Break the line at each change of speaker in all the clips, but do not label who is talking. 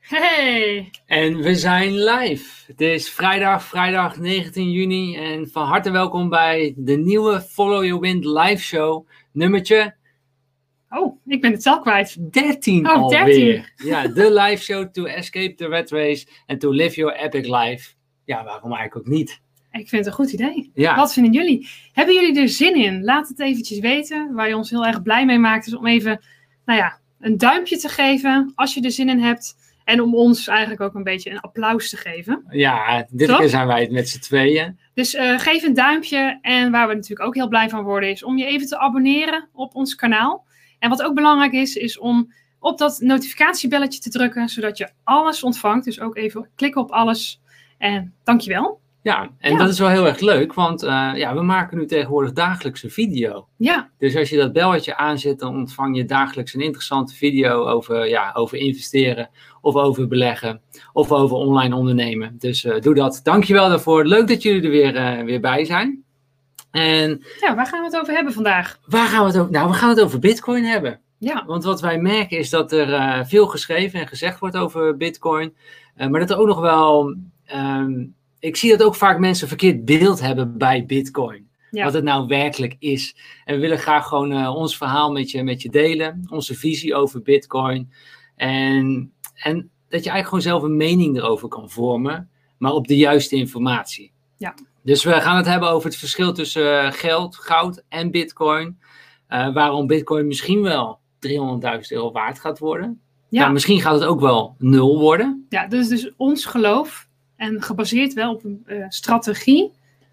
Hey!
En we zijn live. Het is vrijdag, vrijdag 19 juni. En van harte welkom bij de nieuwe Follow Your Wind live show. Nummertje
Oh, ik ben het al kwijt.
13
Oh,
alweer.
13.
Ja, de live show to escape the red race and to live your epic life. Ja, waarom eigenlijk ook niet?
Ik vind het een goed idee.
Ja,
Wat vinden jullie? Hebben jullie er zin in? Laat het eventjes weten. Waar je ons heel erg blij mee maakt is om even, nou ja, een duimpje te geven als je er zin in hebt. En om ons eigenlijk ook een beetje een applaus te geven.
ja dit
Toch?
keer zijn wij het met z'n tweeën.
Dus eh, geef een duimpje. En waar we natuurlijk ook heel blij van worden is om je even te abonneren op ons kanaal. En wat ook belangrijk is, is om op dat notificatiebelletje te drukken. Zodat je alles ontvangt. Dus ook even klikken op alles. En dankjewel.
Ja, en
Ja.
dat is wel heel erg leuk, want eh, ja, we maken nu tegenwoordig dagelijks een video.
Ja,
Dus als je dat belletje aanzet, dan ontvang je dagelijks een interessante video over, ja, over investeren of over beleggen of over online ondernemen. Dus eh, doe dat. Dankjewel daarvoor. Leuk dat jullie er weer, eh, weer bij zijn. En
Ja, waar gaan we het over hebben vandaag?
waar gaan we het over? Nou, we gaan het over Bitcoin hebben.
Ja,
Want wat wij merken is dat er eh, veel geschreven en gezegd wordt over Bitcoin. Eh, maar dat er ook nog wel. ehm, ik zie dat ook vaak mensen een verkeerd beeld hebben bij Bitcoin.
Ja.
Wat het nou werkelijk is. En we willen graag gewoon eh, ons verhaal met je, met je delen. Onze visie over Bitcoin. En, en dat je eigenlijk gewoon zelf een mening erover kan vormen. Maar op de juiste informatie.
Ja.
Dus we gaan het hebben over het verschil tussen eh, geld, goud en Bitcoin. Eh, waarom Bitcoin misschien wel 300.000 euro waard gaat worden. Ja.
ja,
misschien gaat het ook wel nul worden.
ja, dat is dus ons geloof en gebaseerd wel op een eh, strategie.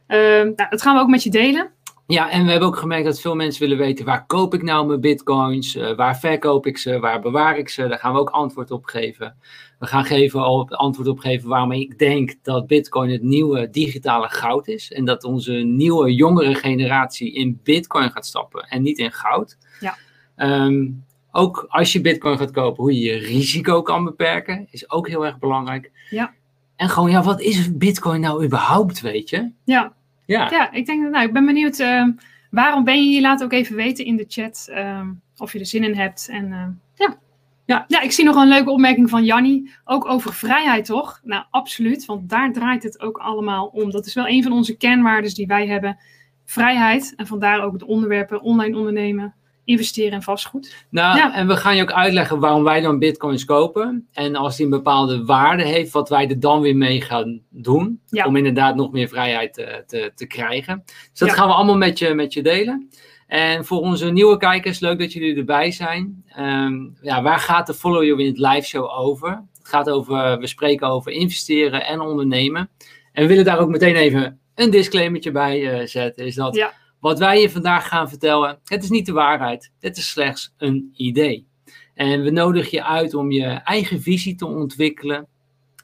Ehm, nou, dat gaan we ook met je delen.
Ja, en we hebben ook gemerkt dat veel mensen willen weten waar koop ik nou mijn bitcoins, Eh, waar verkoop ik ze, waar bewaar ik ze. Daar gaan we ook antwoord op geven. We gaan geven, op, antwoord op geven waarom ik denk dat bitcoin het nieuwe digitale goud is. En dat onze nieuwe jongere generatie in bitcoin gaat stappen en niet in goud.
Ja.
Ehm, ook als je bitcoin gaat kopen, hoe je je risico kan beperken, is ook heel erg belangrijk.
Ja.
En gewoon, ja, wat is bitcoin nou überhaupt, weet je?
Ja,
Ja,
ja ik, denk, nou, ik ben benieuwd. ehm, waarom ben je hier? Laat ook even weten in de chat ehm, of je er zin in hebt. En, ehm, ja.
Ja.
ja, ik zie nog een leuke opmerking van Janni. Ook over vrijheid, toch? Nou, absoluut. Want daar draait het ook allemaal om. Dat is wel een van onze kernwaarden die wij hebben. Vrijheid. En vandaar ook de onderwerpen online ondernemen, investeren en vastgoed.
Nou,
Ja.
en we gaan je ook uitleggen waarom wij dan bitcoins kopen. En als die een bepaalde waarde heeft, wat wij er dan weer mee gaan doen.
Ja.
Om inderdaad nog meer vrijheid te, te, te krijgen. Dus dat
Ja.
gaan we allemaal met je, met je delen. En voor onze nieuwe kijkers, leuk dat jullie erbij zijn. Ehm, ja, waar gaat de Follow Your Wind live show over? Het gaat over, eh, we spreken over investeren en ondernemen. En we willen daar ook meteen even een disclaimertje bij eh, zetten. Is dat
Ja.
wat wij je vandaag gaan vertellen, het is niet de waarheid. Het is slechts een idee. En we nodigen je uit om je eigen visie te ontwikkelen.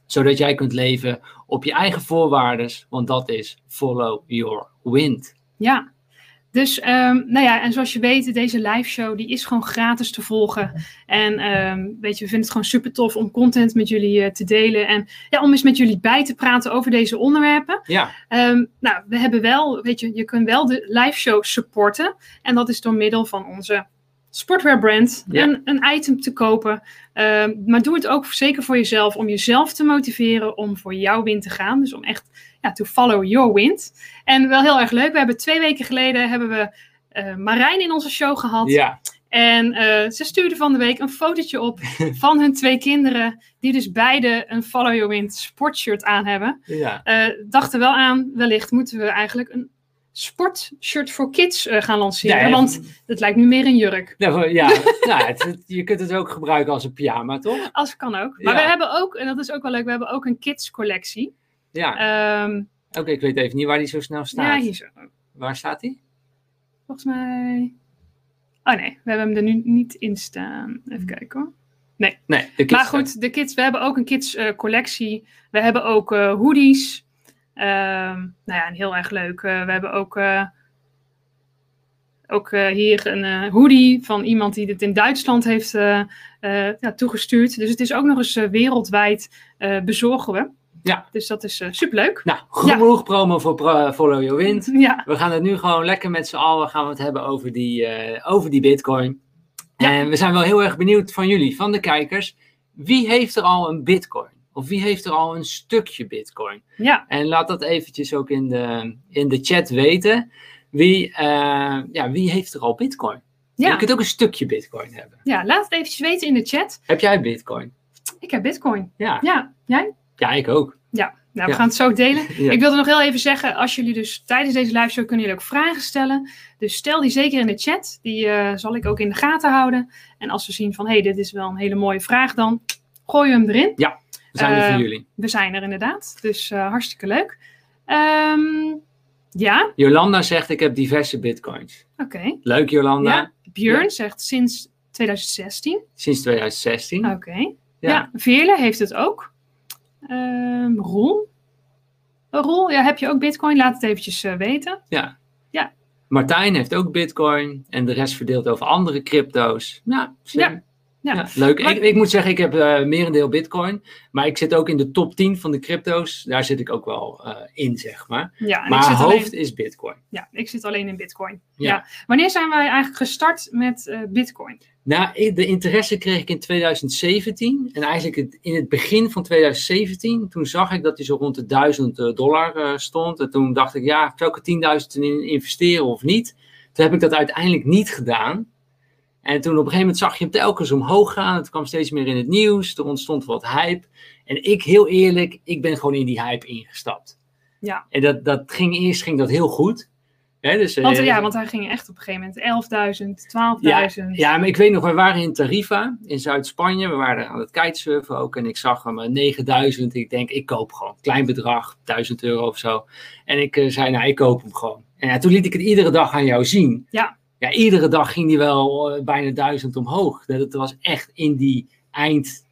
Zodat jij kunt leven op je eigen voorwaarden. Want dat is follow your wind.
Ja, dus ehm, nou ja, en zoals je weet, deze live show die is gewoon gratis te volgen. En ehm, weet je, we vinden het gewoon super tof om content met jullie eh, te delen. En ja, om eens met jullie bij te praten over deze onderwerpen.
Ja,
Ehm, nou, we hebben wel, weet je, je kunt wel de live show supporten. En dat is door middel van onze sportwear brand
Ja.
en een item te kopen. Ehm, maar doe het ook zeker voor jezelf, om jezelf te motiveren om voor jouw win te gaan. Dus om echt ja, to follow your wind. En wel heel erg leuk, we hebben twee weken geleden hebben we eh, Marijn in onze show gehad.
ja.
En eh, ze stuurde van de week een fotootje op van hun twee kinderen, die dus beide een Follow Your Wind sportshirt aan hebben
ja.
eh dachten wel aan, wellicht moeten we eigenlijk een sportshirt voor kids eh, gaan lanceren.
Nee,
want het lijkt nu meer een jurk.
nou, ja. nou, het- het- je kunt het ook gebruiken als een pyjama, toch?
Als kan ook. Maar
Ja.
we hebben ook, en dat is ook wel leuk, we hebben ook een kids collectie.
Ja,
Ehm
oké, ik weet even niet waar die zo snel
ja,
staat.
hier zo.
Waar staat die?
Volgens mij... Oh nee, we hebben hem er nu niet in staan. Even
Hm.
kijken hoor.
Nee, de
Maar
kids-
goed, de kids, we hebben ook een kids eh, collectie. We hebben ook eh, hoodies. Ehm, nou ja, en heel erg leuk. Eh, we hebben ook, eh, ook eh, hier een eh, hoodie van iemand die dit in Duitsland heeft eh, eh, ja, toegestuurd. Dus het is ook nog eens eh, wereldwijd eh, bezorgen we.
Ja.
Dus dat is eh, superleuk.
Nou, genoeg promo voor pro- Follow Your Wind.
Ja,
We gaan het nu gewoon lekker met z'n allen gaan we het hebben over die, eh, over die bitcoin.
Ja.
En we zijn wel heel erg benieuwd van jullie, van de kijkers. Wie heeft er al een bitcoin? Of wie heeft er al een stukje bitcoin?
Ja,
En laat dat eventjes ook in de, in de chat weten. Wie, eh, ja, wie heeft er al bitcoin? Je
ja.
kunt ook een stukje bitcoin hebben.
ja, laat het eventjes weten in de chat.
Heb jij bitcoin?
Ik heb bitcoin.
Ja,
Ja, jij?
ja ik ook.
Nou, we
Ja.
gaan het zo delen.
Ja.
Ik wilde nog heel even zeggen, als jullie dus tijdens deze live show kunnen jullie ook vragen stellen. Dus stel die zeker in de chat. Die eh, zal ik ook in de gaten houden. En als we zien van, hé, hey, dit is wel een hele mooie vraag dan, gooien we hem erin.
We zijn er
Eh,
voor jullie.
We zijn er inderdaad. Dus eh, hartstikke leuk. Ehm, ja,
Jolanda zegt, ik heb diverse bitcoins.
oké.
Leuk Jolanda,
Ja. Björn zegt sinds 2016.
sinds 2016.
Oké. Nou, Ja. Veerle heeft het ook. Ehm Roel? Eh, Roel, ja, heb je ook bitcoin? Laat het eventjes eh, weten.
Martijn heeft ook bitcoin en de rest verdeeld over andere crypto's. Ja, slim.
Ja, ja.
leuk.
Maar-
Ik, ik moet zeggen, ik heb eh merendeel bitcoin, maar ik zit ook in de top 10 van de crypto's. Daar zit ik ook wel eh, in, zeg maar.
Ja, en ik
maar
zit alleen-
hoofd is bitcoin.
Ja, ik zit alleen in Bitcoin. Ja.
Ja.
Wanneer zijn wij eigenlijk gestart met eh, Bitcoin?
Nou, ik- de interesse kreeg ik in 2017. En eigenlijk het- in het begin van 2017, toen zag ik dat hij zo rond de 1000 eh, dollar eh, stond. En toen dacht ik, ja, zou ik er 10.000 in investeren of niet? Toen heb ik dat uiteindelijk niet gedaan. En toen op een gegeven moment zag je hem telkens omhoog gaan. Het kwam steeds meer in het nieuws. Er ontstond wat hype. En ik, heel eerlijk, ik ben gewoon in die hype ingestapt.
Ja.
En dat, dat ging eerst ging dat heel goed. Hè, dus, eh,
Want, eh, ja, want hij ging echt op een gegeven moment 11.000, 12.000.
ja, maar ik weet nog, we waren in Tarifa in Zuid-Spanje. We waren aan het kitesurfen ook. En ik zag hem eh, 9000. Ik denk, ik koop gewoon. Klein bedrag, 1000 euro of zo. En ik eh, zei, nou, ik koop hem gewoon. En ja, toen liet ik het iedere dag aan jou zien.
Ja.
Ja, iedere dag ging die wel eh, bijna 1000 omhoog. Dat het was echt in die eind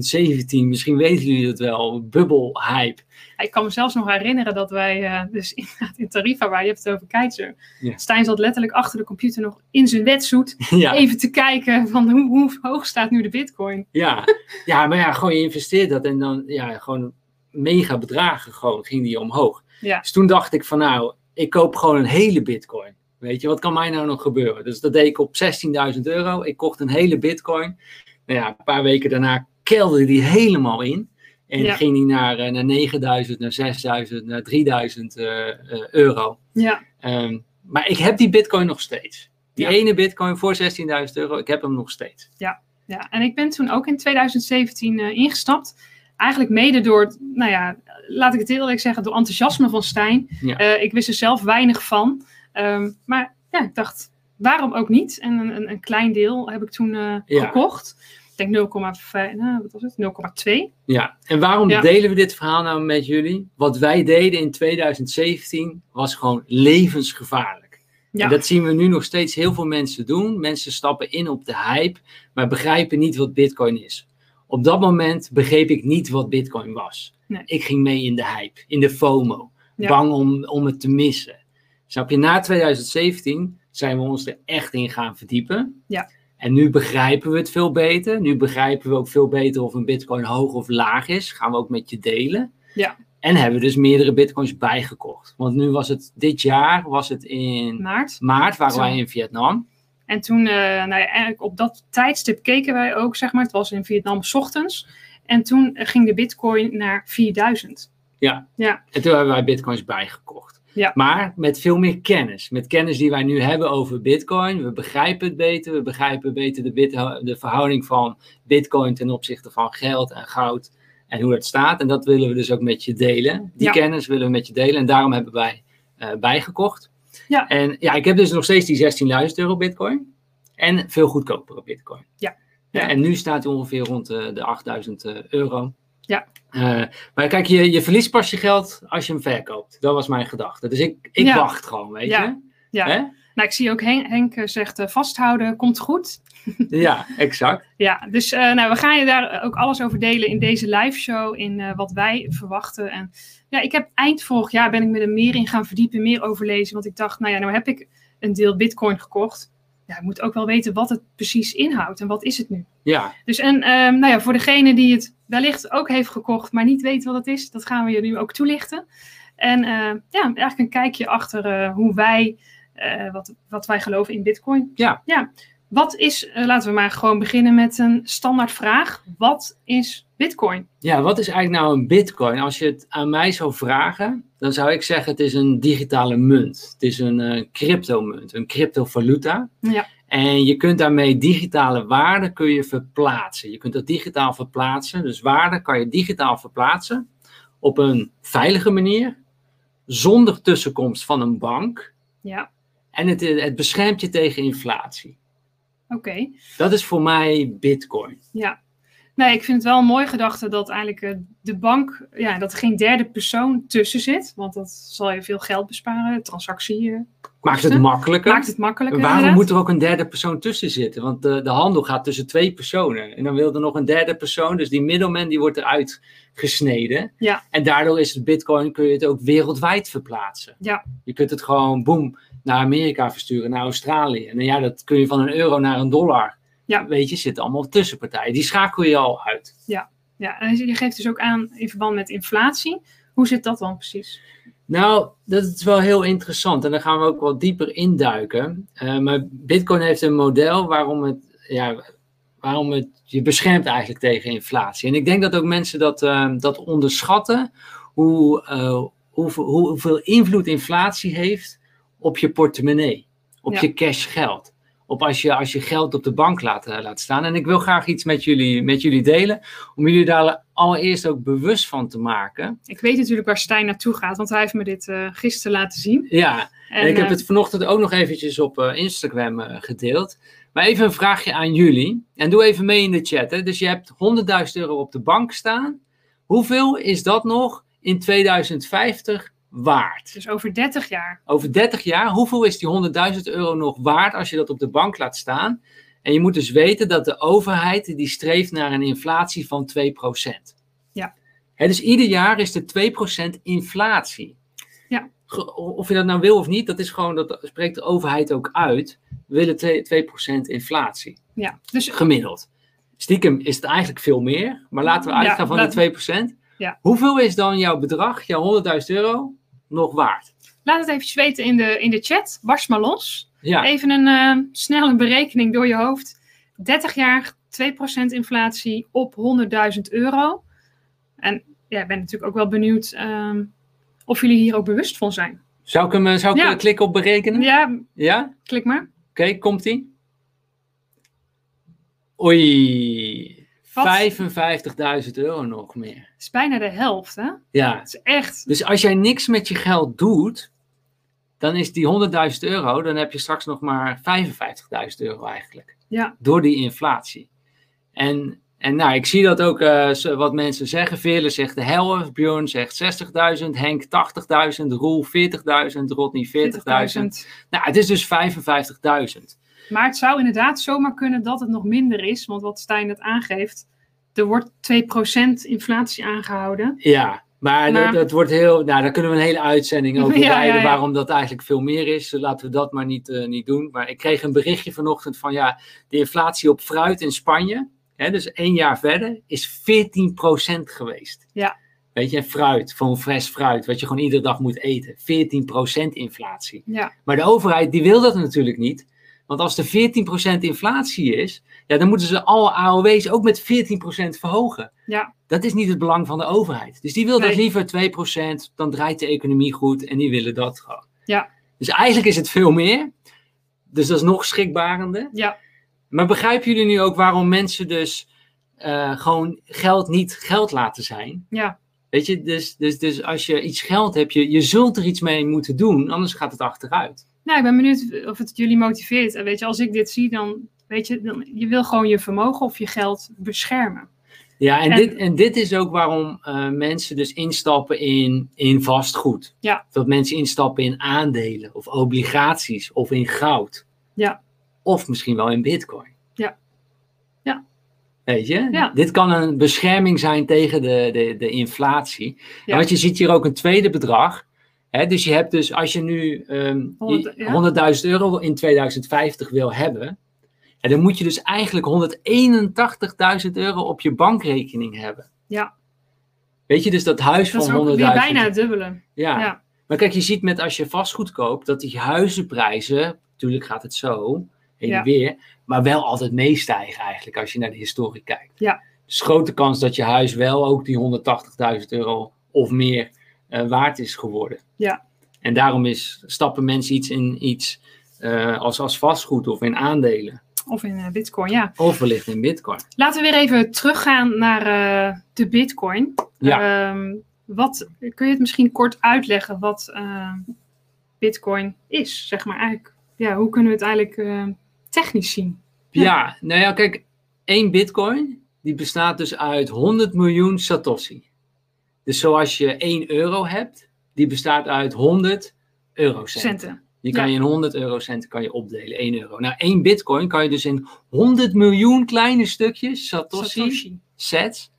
2017. Misschien weten jullie dat wel. Bubbel hype.
Ik kan me zelfs nog herinneren dat wij eh, dus inderdaad in Tarifa waar je hebt het over keizer.
Ja.
Stijn zat letterlijk achter de computer nog in zijn wetsuit
ja.
even te kijken van hoe, hoe hoog staat nu de bitcoin.
Ja. ja, maar ja, gewoon je investeert dat en dan ja, gewoon mega bedragen gewoon ging die omhoog.
Ja.
Dus toen dacht ik van nou, ik koop gewoon een hele bitcoin. Weet je, wat kan mij nou nog gebeuren? Dus dat deed ik op 16.000 euro. Ik kocht een hele bitcoin. Nou ja, een paar weken daarna kelderde die helemaal in. En
Ja.
ging die naar, eh, naar 9.000, naar 6.000, naar 3.000 eh, eh, euro.
Ja,
Ehm, maar ik heb die bitcoin nog steeds. Die
Ja.
ene bitcoin voor 16.000 euro, ik heb hem nog steeds.
ja, en ik ben toen ook in 2017 eh, ingestapt. Eigenlijk mede door, nou ja, laat ik het heel eerlijk zeggen, door enthousiasme van Stijn.
Ja.
Eh, ik wist er zelf weinig van. Ehm, maar ja, ik dacht, waarom ook niet? En een, een, een klein deel heb ik toen eh,
Ja.
gekocht. Ik denk 0,5, nou, wat was het? 0,2.
Ja, en waarom
Ja.
delen we dit verhaal nou met jullie? Wat wij deden in 2017 was gewoon levensgevaarlijk.
Ja.
En dat zien we nu nog steeds heel veel mensen doen. Mensen stappen in op de hype, maar begrijpen niet wat Bitcoin is. Op dat moment begreep ik niet wat Bitcoin was.
Nee.
Ik ging mee in de hype, in de FOMO,
Ja.
bang om, om het te missen. Snap je, na 2017 zijn we ons er echt in gaan verdiepen.
Ja.
En nu begrijpen we het veel beter. Nu begrijpen we ook veel beter of een bitcoin hoog of laag is. Gaan we ook met je delen.
Ja.
En hebben we dus meerdere bitcoins bijgekocht. Want nu was het, dit jaar was het in
Maart.
maart, waren
Zo.
wij in Vietnam.
En toen, eh, nou ja, eigenlijk op dat tijdstip keken wij ook, zeg maar, het was in Vietnam 's ochtends. En toen eh, ging de bitcoin naar 4000.
En toen hebben wij bitcoins bijgekocht.
Ja.
Maar met veel meer kennis. Met kennis die wij nu hebben over bitcoin. We begrijpen het beter. We begrijpen beter de, bit, de verhouding van bitcoin ten opzichte van geld en goud. En hoe dat staat. En dat willen we dus ook met je delen. Die
Ja.
kennis willen we met je delen. En daarom hebben wij eh, bijgekocht.
Ja.
En ja, ik heb dus nog steeds die 16.000 euro bitcoin. En veel goedkopere bitcoin.
Ja. Ja.
En nu staat hij ongeveer rond eh, de 8000 eh, euro.
Ja.
Eh, maar kijk, je, je verliest pas je geld als je hem verkoopt. Dat was mijn gedachte. Dus ik, ik
Ja.
wacht gewoon, weet
Ja.
je?
Ja.
Hè?
Nou, ik zie ook Hen- Henk eh, zegt, eh, vasthouden komt goed.
ja, exact.
Ja, dus eh, nou, we gaan je daar ook alles over delen in deze live show, in eh, wat wij verwachten. En ja, ik heb eind vorig jaar ben ik me er meer in gaan verdiepen, meer overlezen. Want ik dacht, nou ja, nou heb ik een deel bitcoin gekocht. Ja, ik moet ook wel weten wat het precies inhoudt en wat is het nu.
Ja,
Dus en ehm, nou ja, voor degene die het wellicht ook heeft gekocht, maar niet weet wat het is, dat gaan we je nu ook toelichten. En eh, ja, eigenlijk een kijkje achter eh, hoe wij, eh, wat, wat wij geloven in bitcoin.
Ja.
ja. Wat is, eh, laten we maar gewoon beginnen met een standaard vraag. Wat is Bitcoin?
Ja, wat is eigenlijk nou een bitcoin? Als je het aan mij zou vragen, dan zou ik zeggen het is een digitale munt. Het is een eh, cryptomunt, een cryptovaluta.
Ja.
En je kunt daarmee digitale waarde kun je verplaatsen. Je kunt dat digitaal verplaatsen. Dus waarde kan je digitaal verplaatsen op een veilige manier, zonder tussenkomst van een bank.
Ja,
En het, eh, het beschermt je tegen inflatie.
oké.
Dat is voor mij bitcoin.
Ja. Nee, ik vind het wel een mooie gedachte dat eigenlijk eh, de bank, ja, dat er geen derde persoon tussen zit. Want dat zal je veel geld besparen. Transactie eh,
Maakt het
Kosten?
makkelijker.
maakt het makkelijker.
Waarom
inderdaad.
moet er ook een derde persoon tussen zitten? Want eh, de, de handel gaat tussen twee personen. En dan wil er nog een derde persoon. Dus die middleman die wordt eruit gesneden.
Ja.
En daardoor is het bitcoin, kun je het ook wereldwijd verplaatsen.
Ja.
Je kunt het gewoon, boem, naar Amerika versturen, naar Australië. En ja, dat kun je van een euro naar een dollar.
Ja.
Weet je, zitten allemaal tussenpartijen. Die schakel je al uit.
Ja, en je geeft dus ook aan in verband met inflatie. Hoe zit dat dan precies?
Nou, dat is wel heel interessant en daar gaan we ook wat dieper induiken. Eh maar Bitcoin heeft een model waarom het, ja, waarom het je beschermt eigenlijk tegen inflatie. En ik denk dat ook mensen dat, eh, dat onderschatten, hoe, eh, hoeveel, hoe- hoeveel invloed inflatie heeft op je portemonnee, op
Ja.
je cash geld. Op als je, als je geld op de bank laat, eh, laat staan. En ik wil graag iets met jullie, met jullie delen. Om jullie daar allereerst ook bewust van te maken.
Ik weet natuurlijk waar Stijn naartoe gaat, want hij heeft me dit eh, gisteren laten zien.
Ja, En, ik heb
eh,
het vanochtend ook nog eventjes op eh, Instagram eh, gedeeld. Maar even een vraagje aan jullie. En doe even mee in de chat. Hè. Dus je hebt 100.000 euro op de bank staan. Hoeveel is dat nog in 2050 waard?
Dus over 30 jaar.
Over 30 jaar, hoeveel is die 100.000 euro nog waard als je dat op de bank laat staan? En je moet dus weten dat de overheid die streeft naar een inflatie van 2%.
Ja.
Hè, dus ieder jaar is er 2% inflatie.
Ja.
Ge- Of je dat nou wil of niet, dat, is gewoon, dat spreekt de overheid ook uit. We willen twee- 2% inflatie,
Ja, dus
gemiddeld. Stiekem is het eigenlijk veel meer, maar laten we
Ja,
uitgaan van
laat-
de 2%.
Ja.
Hoeveel is dan jouw bedrag, jouw 100.000 euro, nog waard?
laat het eventjes weten in de, in de chat. Barst maar los.
Ja.
Even een eh, snelle berekening door je hoofd. 30 jaar, 2% inflatie op 100.000 euro. En ja, ik ben natuurlijk ook wel benieuwd ehm, of jullie hier ook bewust van zijn.
Zou ik hem eh, zou ik
Ja.
eh, klikken op berekenen? Ja?
Ja, klik maar.
Oké, komt ie. Oei.
Wat?
55.000 euro nog meer.
Het is bijna de helft, hè?
Ja.
Het is echt...
Dus als jij niks met je geld doet, dan is die 100.000 euro, dan heb je straks nog maar 55.000 euro eigenlijk.
Ja.
Door die inflatie. En, en nou, ik zie dat ook eh, zo- wat mensen zeggen. Veerle zegt de helft, Björn zegt 60.000, Henk 80.000, Roel 40.000, Rodney 40.000.
40.000.
Nou, het is dus 55.000.
Maar het zou inderdaad zomaar kunnen dat het nog minder is. Want wat Stijn het aangeeft, er wordt 2% inflatie aangehouden.
Ja, maar dat,
Maar-
dat wordt heel. Nou, daar kunnen we een hele uitzending over
Ja, ja,
wijden.
ja.
Waarom dat eigenlijk veel meer is. Laten we dat maar niet, eh, niet doen. Maar ik kreeg een berichtje vanochtend van ja. De inflatie op fruit in Spanje, hè, dus één jaar verder, is 14% geweest.
Ja.
Weet je, en fruit, van fris fruit, wat je gewoon iedere dag moet eten. 14% inflatie.
Ja,
Maar de overheid die wil dat natuurlijk niet. Want als er 14% inflatie is, ja, dan moeten ze alle AOW's ook met 14% verhogen.
Ja.
Dat is niet het belang van de overheid. Dus die wil dat
Nee.
liever 2%, dan draait de economie goed en die willen dat gewoon.
Ja.
Dus eigenlijk is het veel meer. Dus dat is nog schrikbarender.
ja,
Maar begrijpen jullie nu ook waarom mensen dus eh, gewoon geld niet geld laten zijn?
Ja.
Weet je, dus, dus, dus als je iets geld hebt, je, je zult er iets mee moeten doen, anders gaat het achteruit.
Nou, ik ben benieuwd of het jullie motiveert. En weet je, als ik dit zie, dan weet je, dan, je wil gewoon je vermogen of je geld beschermen.
Ja, en,
En-
dit, en dit is ook waarom eh, mensen dus instappen in, in vastgoed.
Ja.
Dat mensen instappen in aandelen of obligaties of in goud.
Ja.
Of misschien wel in bitcoin.
Ja. Ja.
Weet je?
Ja.
Dit kan een bescherming zijn tegen de, de, de inflatie.
Ja.
En want je ziet hier ook een tweede bedrag. Hè, dus je hebt dus, als je nu ehm,
Honderd-
je-
ja.
100.000 euro in 2050 wil hebben... En dan moet je dus eigenlijk 181.000 euro op je bankrekening hebben.
Ja.
Weet je, dus dat huis
Dat is
van
ook
100.000.
weer bijna het dubbele.
Ja.
ja.
Maar kijk, je ziet met als je vastgoed koopt, dat die huizenprijzen, natuurlijk gaat het zo, hè, heen
Ja.
en weer. Maar wel altijd meestijgen eigenlijk als je naar de historie kijkt.
Ja.
Dus grote kans dat je huis wel ook die 180.000 euro of meer eh, waard is geworden.
Ja.
En daarom is, stappen mensen iets in iets eh, als, als vastgoed of in aandelen.
Of in eh, bitcoin, ja.
Of wellicht in bitcoin.
Laten we weer even teruggaan naar eh, de Bitcoin.
Ja.
Ehm, wat, kun je het misschien kort uitleggen wat eh, Bitcoin is? Zeg maar eigenlijk, ja, hoe kunnen we het eigenlijk eh, technisch zien? Ja.
Ja. nou ja, kijk, één bitcoin die bestaat dus uit 100 miljoen satoshi. Dus zoals je 1 euro hebt, die bestaat uit 100 eurocenten.
Centen.
Die kan
ja.
je in 100 eurocenten kan je opdelen, 1 euro. Nou, één bitcoin kan je dus in 100 miljoen kleine stukjes satoshi,
Satoshi.
sets,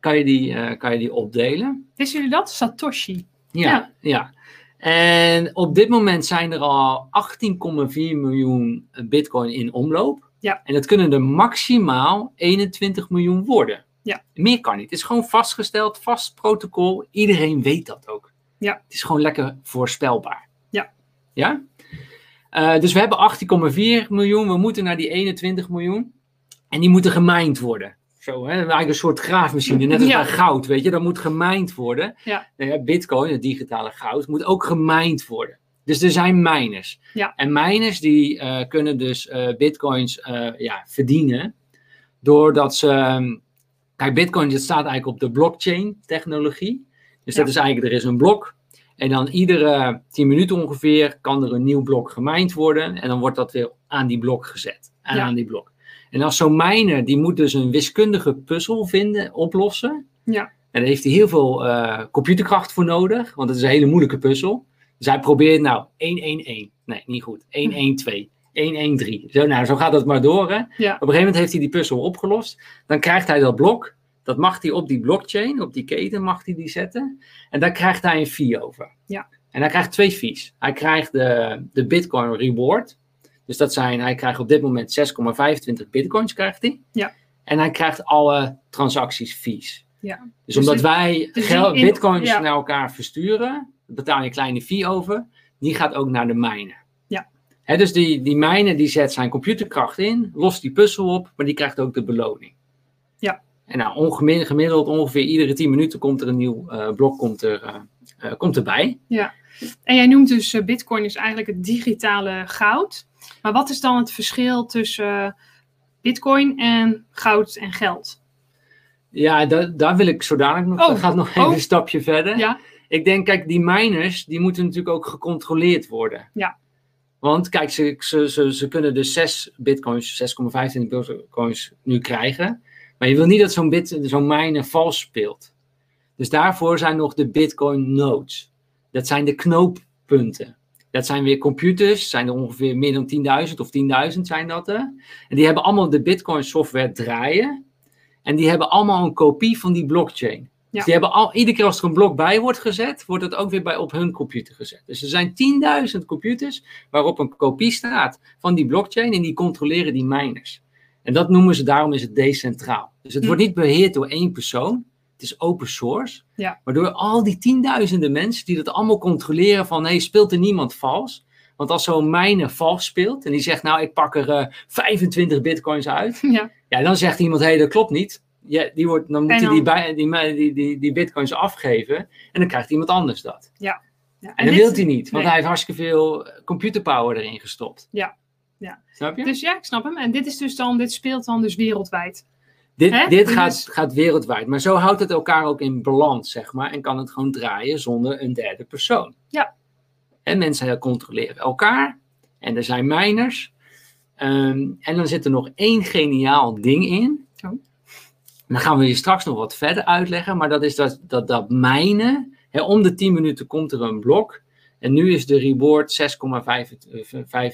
kan je die, eh, kan je die opdelen.
Wisten jullie dat? Satoshi.
Ja,
Ja.
ja. En op dit moment zijn er al 18,4 miljoen bitcoin in omloop.
Ja.
En dat kunnen er maximaal 21 miljoen worden.
Ja.
Meer kan niet. Het is gewoon vastgesteld, vast protocol. Iedereen weet dat ook.
Ja.
Het is gewoon lekker voorspelbaar.
Ja.
Ja? Eh, dus we hebben 18,4 miljoen. We moeten naar die 21 miljoen. En die moeten gemijnd worden. Zo, hè? Eigenlijk een soort graafmachine. Net als
Ja.
bij goud, weet je. Dat moet gemijnd worden. Nou ja, Bitcoin, het digitale goud, moet ook gemined worden. Dus er zijn miners.
Ja.
En miners die eh, kunnen dus eh, bitcoins eh, ja, verdienen. Doordat ze. ehm, kijk, bitcoin dat staat eigenlijk op de blockchain technologie. Dus dat
Ja.
is eigenlijk, er is een blok. En dan iedere 10 minuten ongeveer kan er een nieuw blok gemined worden. En dan wordt dat weer aan die blok gezet. En
Ja.
aan die blok. En als zo'n miner, die moet dus een wiskundige puzzel vinden, oplossen.
Ja.
En daar heeft hij heel veel eh, computerkracht voor nodig, want het is een hele moeilijke puzzel. Dus hij probeert nou 1-1-1. Nee, niet goed. 1-1-2. 1-1-3. Zo, nou, zo gaat dat maar door. Hè? Op een gegeven moment heeft hij die puzzel opgelost. Dan krijgt hij dat blok. Dat mag hij op die blockchain, op die keten mag hij die zetten. En daar krijgt hij een fee over.
Ja.
En hij krijgt twee fees. Hij krijgt de, de Bitcoin Reward. Dus dat zijn, hij krijgt op dit moment 6,25 bitcoins krijgt hij.
Ja.
En hij krijgt alle transacties fees.
Ja.
Dus,
Dus
omdat
het-
wij
dus
geld,
die in-
bitcoins
ja.
naar elkaar versturen, daar betaal je een kleine fee over. Die gaat ook naar de mijnen.
Ja.
Hè, dus die, die mijnen die zet zijn computerkracht in, lost die puzzel op, maar die krijgt ook de beloning.
Ja.
En nou, ongemi- gemiddeld ongeveer iedere 10 minuten komt er een nieuw eh, blok komt er, eh, eh, komt erbij.
En jij noemt dus eh, Bitcoin is eigenlijk het digitale goud. Maar wat is dan het verschil tussen eh, Bitcoin en goud en geld?
Ja, da- daar wil ik zo dadelijk nog,
Oh.
dat gaat nog even
Oh.
een stapje verder.
Ja.
Ik denk, kijk, die miners, die moeten natuurlijk ook gecontroleerd worden.
Ja.
Want kijk, ze, ze, ze, ze kunnen dus 6 bitcoins, 6,25 bitcoins nu krijgen. Maar je wil niet dat zo'n bit- zo'n miner vals speelt. Dus daarvoor zijn nog de bitcoin nodes. Dat zijn de knooppunten. Dat zijn weer computers, zijn er ongeveer meer dan 10.000 of 10.000 zijn dat er. En die hebben allemaal de bitcoin software draaien. En die hebben allemaal een kopie van die blockchain.
Ja.
Dus die hebben al, iedere keer als er een blok bij wordt gezet, wordt dat ook weer bij op hun computer gezet. Dus er zijn 10.000 computers waarop een kopie staat van die blockchain en die controleren die miners. En dat noemen ze, daarom is het decentraal. Dus het
Hm.
wordt niet beheerd door één persoon, het is open source.
Ja.
Waardoor al die tienduizenden mensen die dat allemaal controleren van, hé, speelt er niemand vals? Want als zo'n miner vals speelt en die zegt, nou, ik pak er eh, 25 bitcoins uit,
ja.
ja, dan zegt iemand, hé, dat klopt niet. Ja, die wordt, dan moet
En
hij
dan-
die, bij- die, me- die, die, die bitcoins afgeven en dan krijgt iemand anders dat.
Ja,
En, dat
dit-
wil hij niet, want
nee.
hij heeft hartstikke veel computerpower erin gestopt.
Ja, ja.
Snap je?
Dus ja, ik snap hem. En dit is dus dan, dit speelt dan dus wereldwijd. hè?
dit dit
Dus-
gaat, gaat wereldwijd, maar zo houdt het elkaar ook in balans, zeg maar, en kan het gewoon draaien zonder een derde persoon.
Ja.
En mensen controleren elkaar en er zijn miners. Ehm, en dan zit er nog één geniaal ding in.
Oh.
En Dan gaan we je straks nog wat verder uitleggen, maar dat is dat, dat, dat mijnen, hè, om de 10 minuten komt er een blok. En nu is de reward 6,25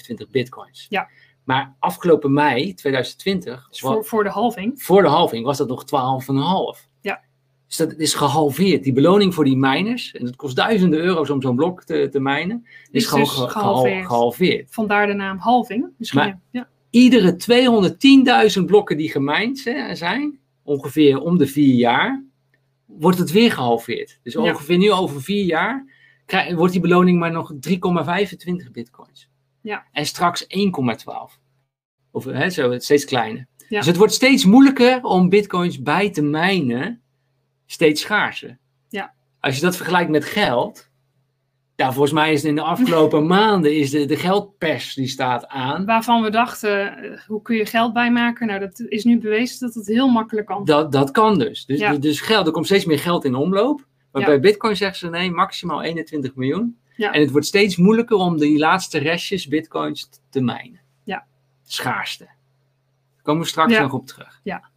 eh, bitcoins.
Ja.
Maar afgelopen mei 2020
Dus
wa-
voor, voor de halving.
voor de halving was dat nog 12,5.
Ja.
Dus dat is gehalveerd. Die beloning voor die miners, en dat kost duizenden euro's om zo'n blok te, te mijnen, is,
Is
gewoon
dus
ge- gehal-
gehalveerd.
gehalveerd.
Vandaar de naam halving. Misschien.
Maar-
ja.
Iedere 210.000 blokken die gemijnd z- zijn, ongeveer om de vier jaar, wordt het weer gehalveerd. Dus
Ja.
ongeveer nu over vier jaar krij- wordt die beloning maar nog 3,25 bitcoins.
Ja.
En straks 1,12. Of hè, zo, steeds kleiner.
Ja.
Dus het wordt steeds moeilijker om bitcoins bij te mijnen, steeds schaarser.
Ja.
Als je dat vergelijkt met geld, nou, volgens mij is in de afgelopen maanden is de, de geldpers die staat aan.
Waarvan we dachten, eh, hoe kun je geld bijmaken? Nou, dat is nu bewezen dat het heel makkelijk kan.
Dat, dat kan dus. Dus,
Ja.
dus geld, er komt steeds meer geld in omloop. Maar
Ja.
bij Bitcoin zeggen ze nee, maximaal 21 miljoen.
Ja.
En het wordt steeds moeilijker om die laatste restjes Bitcoins t- te mijnen.
Ja.
Schaarste. Daar komen we straks
Ja.
nog op terug. Ja.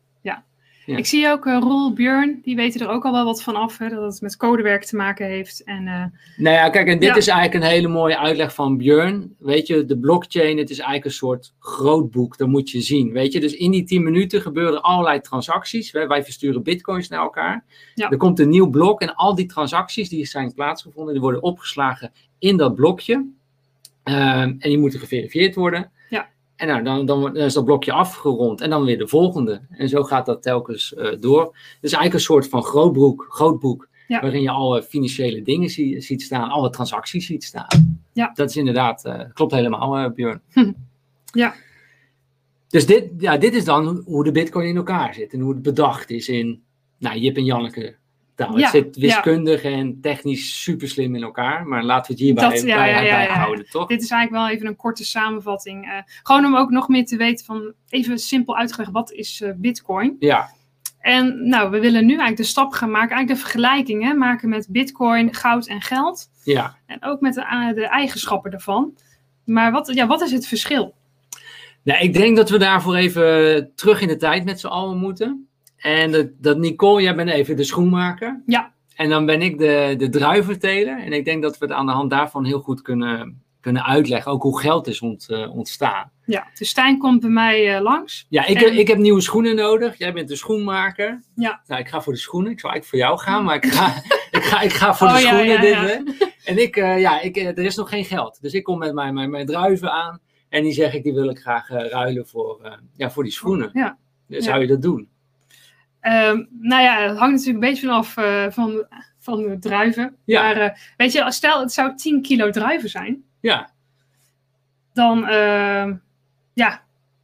Ik zie ook eh, Roel, Björn, die weten er ook al wel wat van af. Hè, dat het met codewerk te maken heeft. En eh,
Nou ja, kijk, en dit
Ja.
is eigenlijk een hele mooie uitleg van Björn. Weet je, de blockchain, het is eigenlijk een soort grootboek. Dat moet je zien. Weet je, dus in die 10 minuten gebeuren allerlei transacties. Wij, wij versturen bitcoins naar elkaar.
Ja.
Er komt een nieuw blok en al die transacties die zijn plaatsgevonden, die worden opgeslagen in dat blokje. Ehm, en die moeten geverifieerd worden.
Ja.
En nou, dan, dan, dan is dat blokje afgerond en dan weer de volgende. En zo gaat dat telkens eh, door. Dus eigenlijk een soort van grootboek, grootboek
Ja.
waarin je alle financiële dingen zie- ziet staan, alle transacties ziet staan.
Ja.
Dat is inderdaad, eh, klopt helemaal, eh Björn.
Hm. Ja.
Dus dit, ja, dit is dan hoe de bitcoin in elkaar zit en hoe het bedacht is in nou, Jip en Janneke taal.
Ja,
Het zit
ja.
wiskundig en technisch super slim in elkaar, maar laten we het hierbij
Dat- ja,
bij,
ja, ja,
bij
ja.
houden, toch?
dit is eigenlijk wel even een korte samenvatting. eh, gewoon om ook nog meer te weten van, even simpel uitgelegd, wat is eh, bitcoin?
Ja,
En nou, we willen nu eigenlijk de stap gaan maken, eigenlijk de vergelijking hè, maken met bitcoin, goud en geld.
ja.
En ook met de, a- de eigenschappen daarvan. Maar wat, ja, wat is het verschil?
Nou, ik denk dat we daarvoor even terug in de tijd met z'n allen moeten. En dat, dat Nicole, jij bent even de schoenmaker.
Ja.
En dan ben ik de, de druiventeler. En ik denk dat we het aan de hand daarvan heel goed kunnen, kunnen uitleggen. Ook hoe geld is ont, eh, ontstaan.
Ja, dus Stijn komt bij mij eh, langs.
Ja, ik,
En-
ik heb nieuwe schoenen nodig. Jij bent de schoenmaker.
Ja.
Nou, ik ga voor de schoenen. Ik zou eigenlijk voor jou gaan, maar ik ga, ik ga, ik ga voor de
Oh, ja,
schoenen.
ja,
dit,
ja.
hè. En ik, eh, ja, ik, eh, er is nog geen geld. Dus ik kom met mijn, mijn, mijn druiven aan. En die zeg ik, die wil ik graag eh, ruilen voor, eh, ja, voor die schoenen.
Ja.
Dus Zou je dat doen?
Ehm, nou ja, het hangt natuurlijk een beetje vanaf eh, van, van de druiven.
Ja.
Maar eh, weet je, als- stel het zou 10 kilo druiven zijn,
Ja.
dan ehm, ja,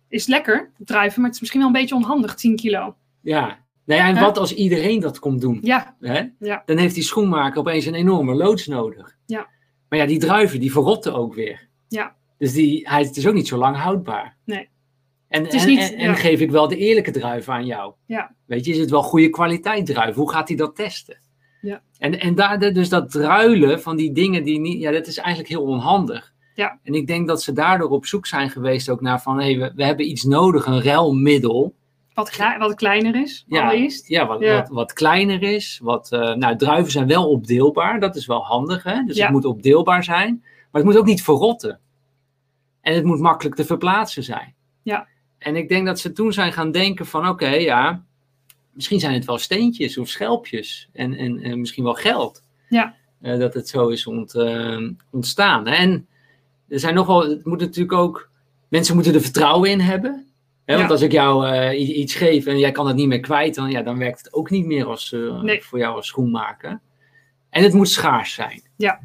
is het lekker druiven, maar het is misschien wel een beetje onhandig 10 kilo.
Ja. Nou ja, en
Hè?
wat als iedereen dat komt doen?
Ja,
Hè?
Ja.
Dan heeft die schoenmaker opeens een enorme loods nodig.
Ja.
Maar ja, die druiven, die verrotten ook weer.
Ja.
Dus die, hij, het is ook niet zo lang houdbaar.
Nee.
En,
Het is
en,
niet-
en, en
ja.
geef ik wel de eerlijke druiven aan jou?
Ja.
Weet je, is het wel goede kwaliteit druif? Hoe gaat hij dat testen?
Ja.
En, en daar, dus dat druilen van die dingen die niet... Ja, dat is eigenlijk heel onhandig.
Ja.
En ik denk dat ze daardoor op zoek zijn geweest ook naar van... Hé, we, we hebben iets nodig, een ruilmiddel.
wat, klei- wat kleiner is
Ja.
allereerst.
Ja, wat,
Ja.
Wat, wat kleiner is. Wat, eh, nou, druiven zijn wel opdeelbaar. Dat is wel handig. Hè? Dus
Ja.
het moet opdeelbaar zijn. Maar het moet ook niet verrotten. En het moet makkelijk te verplaatsen zijn.
Ja.
En ik denk dat ze toen zijn gaan denken van... Oké, ja, misschien zijn het wel steentjes of schelpjes. En, en, en misschien wel geld.
Ja.
Eh, dat het zo is ont, eh, ontstaan. En er zijn nog wel... Het moet natuurlijk ook... Mensen moeten er vertrouwen in hebben. Hè, want
Ja.
als ik jou eh, i- iets geef en jij kan het niet meer kwijt, dan, ja, dan werkt het ook niet meer als, eh,
Nee.
voor jou als schoenmaker. En het moet schaars zijn.
Ja.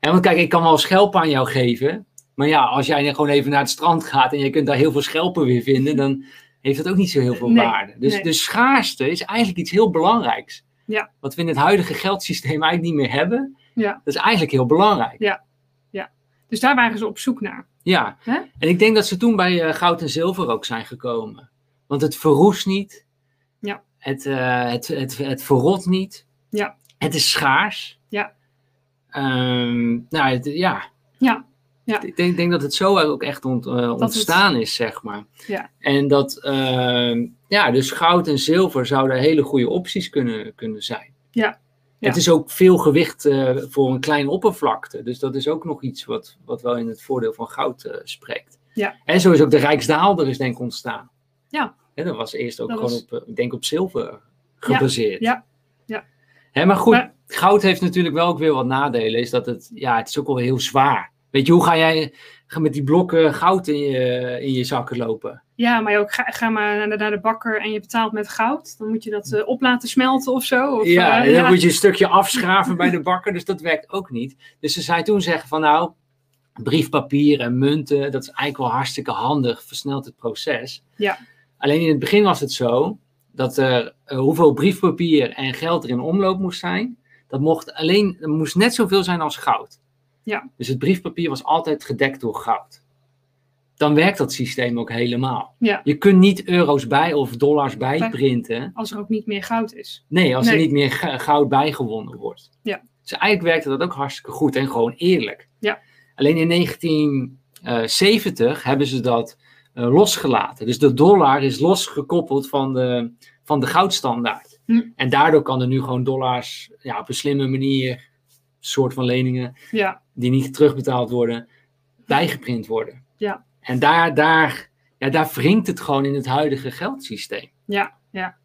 En want kijk, ik kan wel schelpen aan jou geven. Maar ja, als jij gewoon even naar het strand gaat en je kunt daar heel veel schelpen weer vinden, dan heeft dat ook niet zo heel veel
Nee,
waarde. Dus,
nee.
dus schaarste is eigenlijk iets heel belangrijks.
Ja.
Wat we in het huidige geldsysteem eigenlijk niet meer hebben.
Ja.
Dat is eigenlijk heel belangrijk.
Dus daar waren ze op zoek naar.
Ja,
Hè?
en ik denk dat ze toen bij eh, goud en zilver ook zijn gekomen. Want het verroest niet.
Ja.
Het, eh, het, het, het verrot niet.
Ja.
Het is schaars.
Ja.
Ehm, nou, het- ja.
Ja, ja.
Ik denk, denk dat het zo ook echt ont- eh, ontstaan is, zeg maar.
Ja.
En dat, ehm, ja, dus goud en zilver zouden hele goede opties kunnen, kunnen zijn.
Ja, ja.
Het is ook veel gewicht eh, voor een kleine oppervlakte. Dus dat is ook nog iets wat, wat wel in het voordeel van goud eh, spreekt.
Ja.
En zo is ook de Rijksdaalder is denk ik ontstaan.
Ja.
Hè, dat was eerst ook
Dat
gewoon
was-
op, eh, ik denk op zilver gebaseerd.
ja, ja.
Hè, maar goed,
Maar-
goud heeft natuurlijk wel ook weer wat nadelen. Is dat het, ja, het is ook wel heel zwaar. Weet je, hoe ga jij ga met die blokken goud in je, in je zakken lopen?
Ja, maar ook ga, ga maar naar de, naar de bakker en je betaalt met goud. Dan moet je dat eh, op laten smelten of zo. Of,
ja,
eh,
en dan moet je een stukje afschaven bij de bakker, dus dat werkt ook niet. Dus ze zei toen zeggen van nou, briefpapier en munten. Dat is eigenlijk wel hartstikke handig, versnelt het proces.
Ja.
Alleen in het begin was het zo dat er eh, hoeveel briefpapier en geld er in omloop moest zijn. Dat mocht alleen, er moest net zoveel zijn als goud.
Ja.
Dus het briefpapier was altijd gedekt door goud. Dan werkt dat systeem ook helemaal.
Ja.
Je kunt niet euro's bij of dollars bij
Bij-
printen.
Als er ook niet meer goud is.
Nee, als er
Nee.
niet meer g- goud bijgewonnen wordt.
Ja.
Dus eigenlijk werkte dat ook hartstikke goed en gewoon eerlijk.
Ja.
Alleen in 1970 hebben ze dat eh, losgelaten. Dus de dollar is losgekoppeld van de, van de goudstandaard.
Hm.
En daardoor kan er nu gewoon dollars ja, op een slimme manier, soort van leningen
Ja,
die niet terugbetaald worden, bijgeprint worden.
Ja.
En daar, daar, ja, daar wringt het gewoon in het huidige geldsysteem.
ja, ja.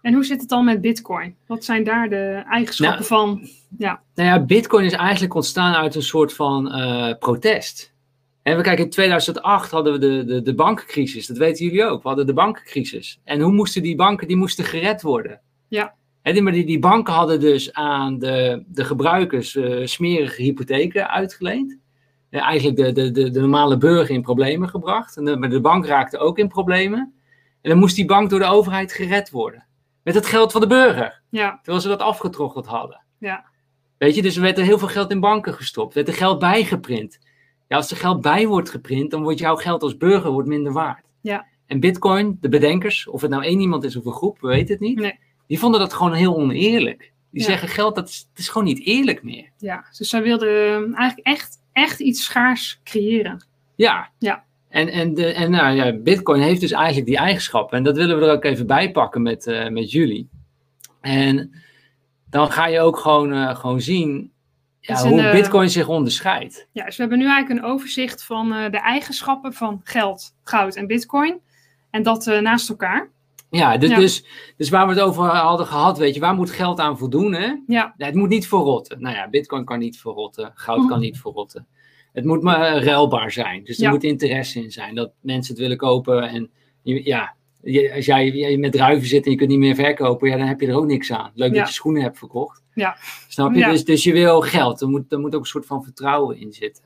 En hoe zit het dan met bitcoin? Wat zijn daar de eigenschappen van?
Nou ja, Bitcoin is eigenlijk ontstaan uit een soort van eh, protest. En we kijken, in 2008 hadden we de, de, de bankencrisis. Dat weten jullie ook. We hadden de bankencrisis. En hoe moesten die banken? Die moesten gered worden.
Ja.
En die, maar die, die banken hadden dus aan de, de gebruikers eh, smerige hypotheken uitgeleend. Eh, eigenlijk de, de, de, de normale burger in problemen gebracht. En de, maar de bank raakte ook in problemen. En dan moest die bank door de overheid gered worden. Met het geld van de burger.
Ja,
Terwijl ze dat afgetroggeld hadden.
Ja.
Weet je, dus er werd er heel veel geld in banken gestopt. Werd er geld bijgeprint. Ja, als er geld bij wordt geprint, dan wordt jouw geld als burger wordt minder waard.
Ja.
En bitcoin, de bedenkers, of het nou één iemand is of een groep, we weten het niet.
Nee.
Die vonden dat gewoon heel oneerlijk. Die
Ja.
zeggen geld, dat is, het is gewoon niet eerlijk meer.
ja. Dus zij wilden eh, eigenlijk echt, echt iets schaars creëren.
Ja.
Ja.
En, en, de, en nou ja, Bitcoin heeft dus eigenlijk die eigenschappen. En dat willen we er ook even bij pakken met, eh, met jullie. En dan ga je ook gewoon, eh, gewoon zien
Het
ja,
is
hoe
een, eh,
Bitcoin zich onderscheidt.
Ja, dus we hebben nu eigenlijk een overzicht van eh, de eigenschappen van geld, goud en bitcoin. En dat eh, naast elkaar.
Ja, dus,
Ja.
Dus, dus waar we het over hadden gehad, weet je, waar moet geld aan voldoen? Hè?
Ja.
Nou, het moet niet verrotten. Nou ja, Bitcoin kan niet verrotten, goud
Mhm.
kan niet verrotten. Het moet maar eh, ruilbaar zijn. Dus er
Ja.
moet interesse in zijn dat mensen het willen kopen. En je- ja, je- als jij je met druiven zit en je kunt niet meer verkopen, ja, dan heb je er ook niks aan. Leuk
Ja.
dat je schoenen hebt verkocht.
Ja.
Snap je?
Ja.
Dus, dus je wil geld. Er moet, er moet ook een soort van vertrouwen in zitten.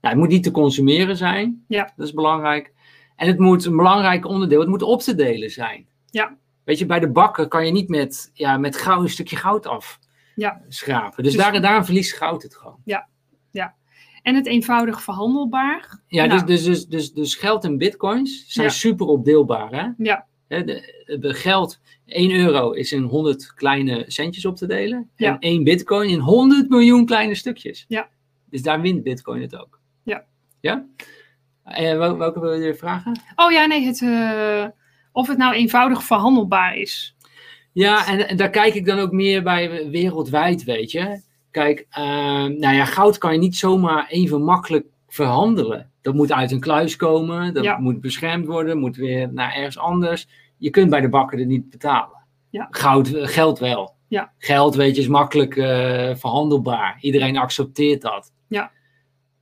Nou, het moet niet te consumeren zijn.
Ja.
Dat is belangrijk. En het moet een belangrijk onderdeel, het moet op te delen zijn.
Ja.
Weet je, bij de bakken kan je niet met, ja, met goud een stukje goud af
Ja.
schrapen. Dus,
Dus-
daar, daarom verliest goud het gewoon.
En het eenvoudig verhandelbaar.
Ja,
Nou.
dus, dus, dus, dus, dus geld en bitcoins zijn
Ja.
super opdeelbaar. Hè?
Ja.
Hè, de, de geld, 1 euro is in 100 kleine centjes op te delen. En
Ja.
1 bitcoin in 100 miljoen kleine stukjes.
Ja.
Dus daar wint bitcoin het ook.
Ja.
Ja? En wel- welke wil je vragen?
Oh ja, nee, het, eh, of het nou eenvoudig verhandelbaar is.
Ja, en, en daar kijk ik dan ook meer bij wereldwijd, weet je. Kijk, eh, nou ja, goud kan je niet zomaar even makkelijk verhandelen. Dat moet uit een kluis komen, dat
Ja.
moet beschermd worden, moet weer naar ergens anders. Je kunt bij de bakker het niet betalen.
Ja.
Goud, eh, geld wel.
Ja.
Geld, weet je, is makkelijk eh, verhandelbaar. Iedereen accepteert dat.
Ja.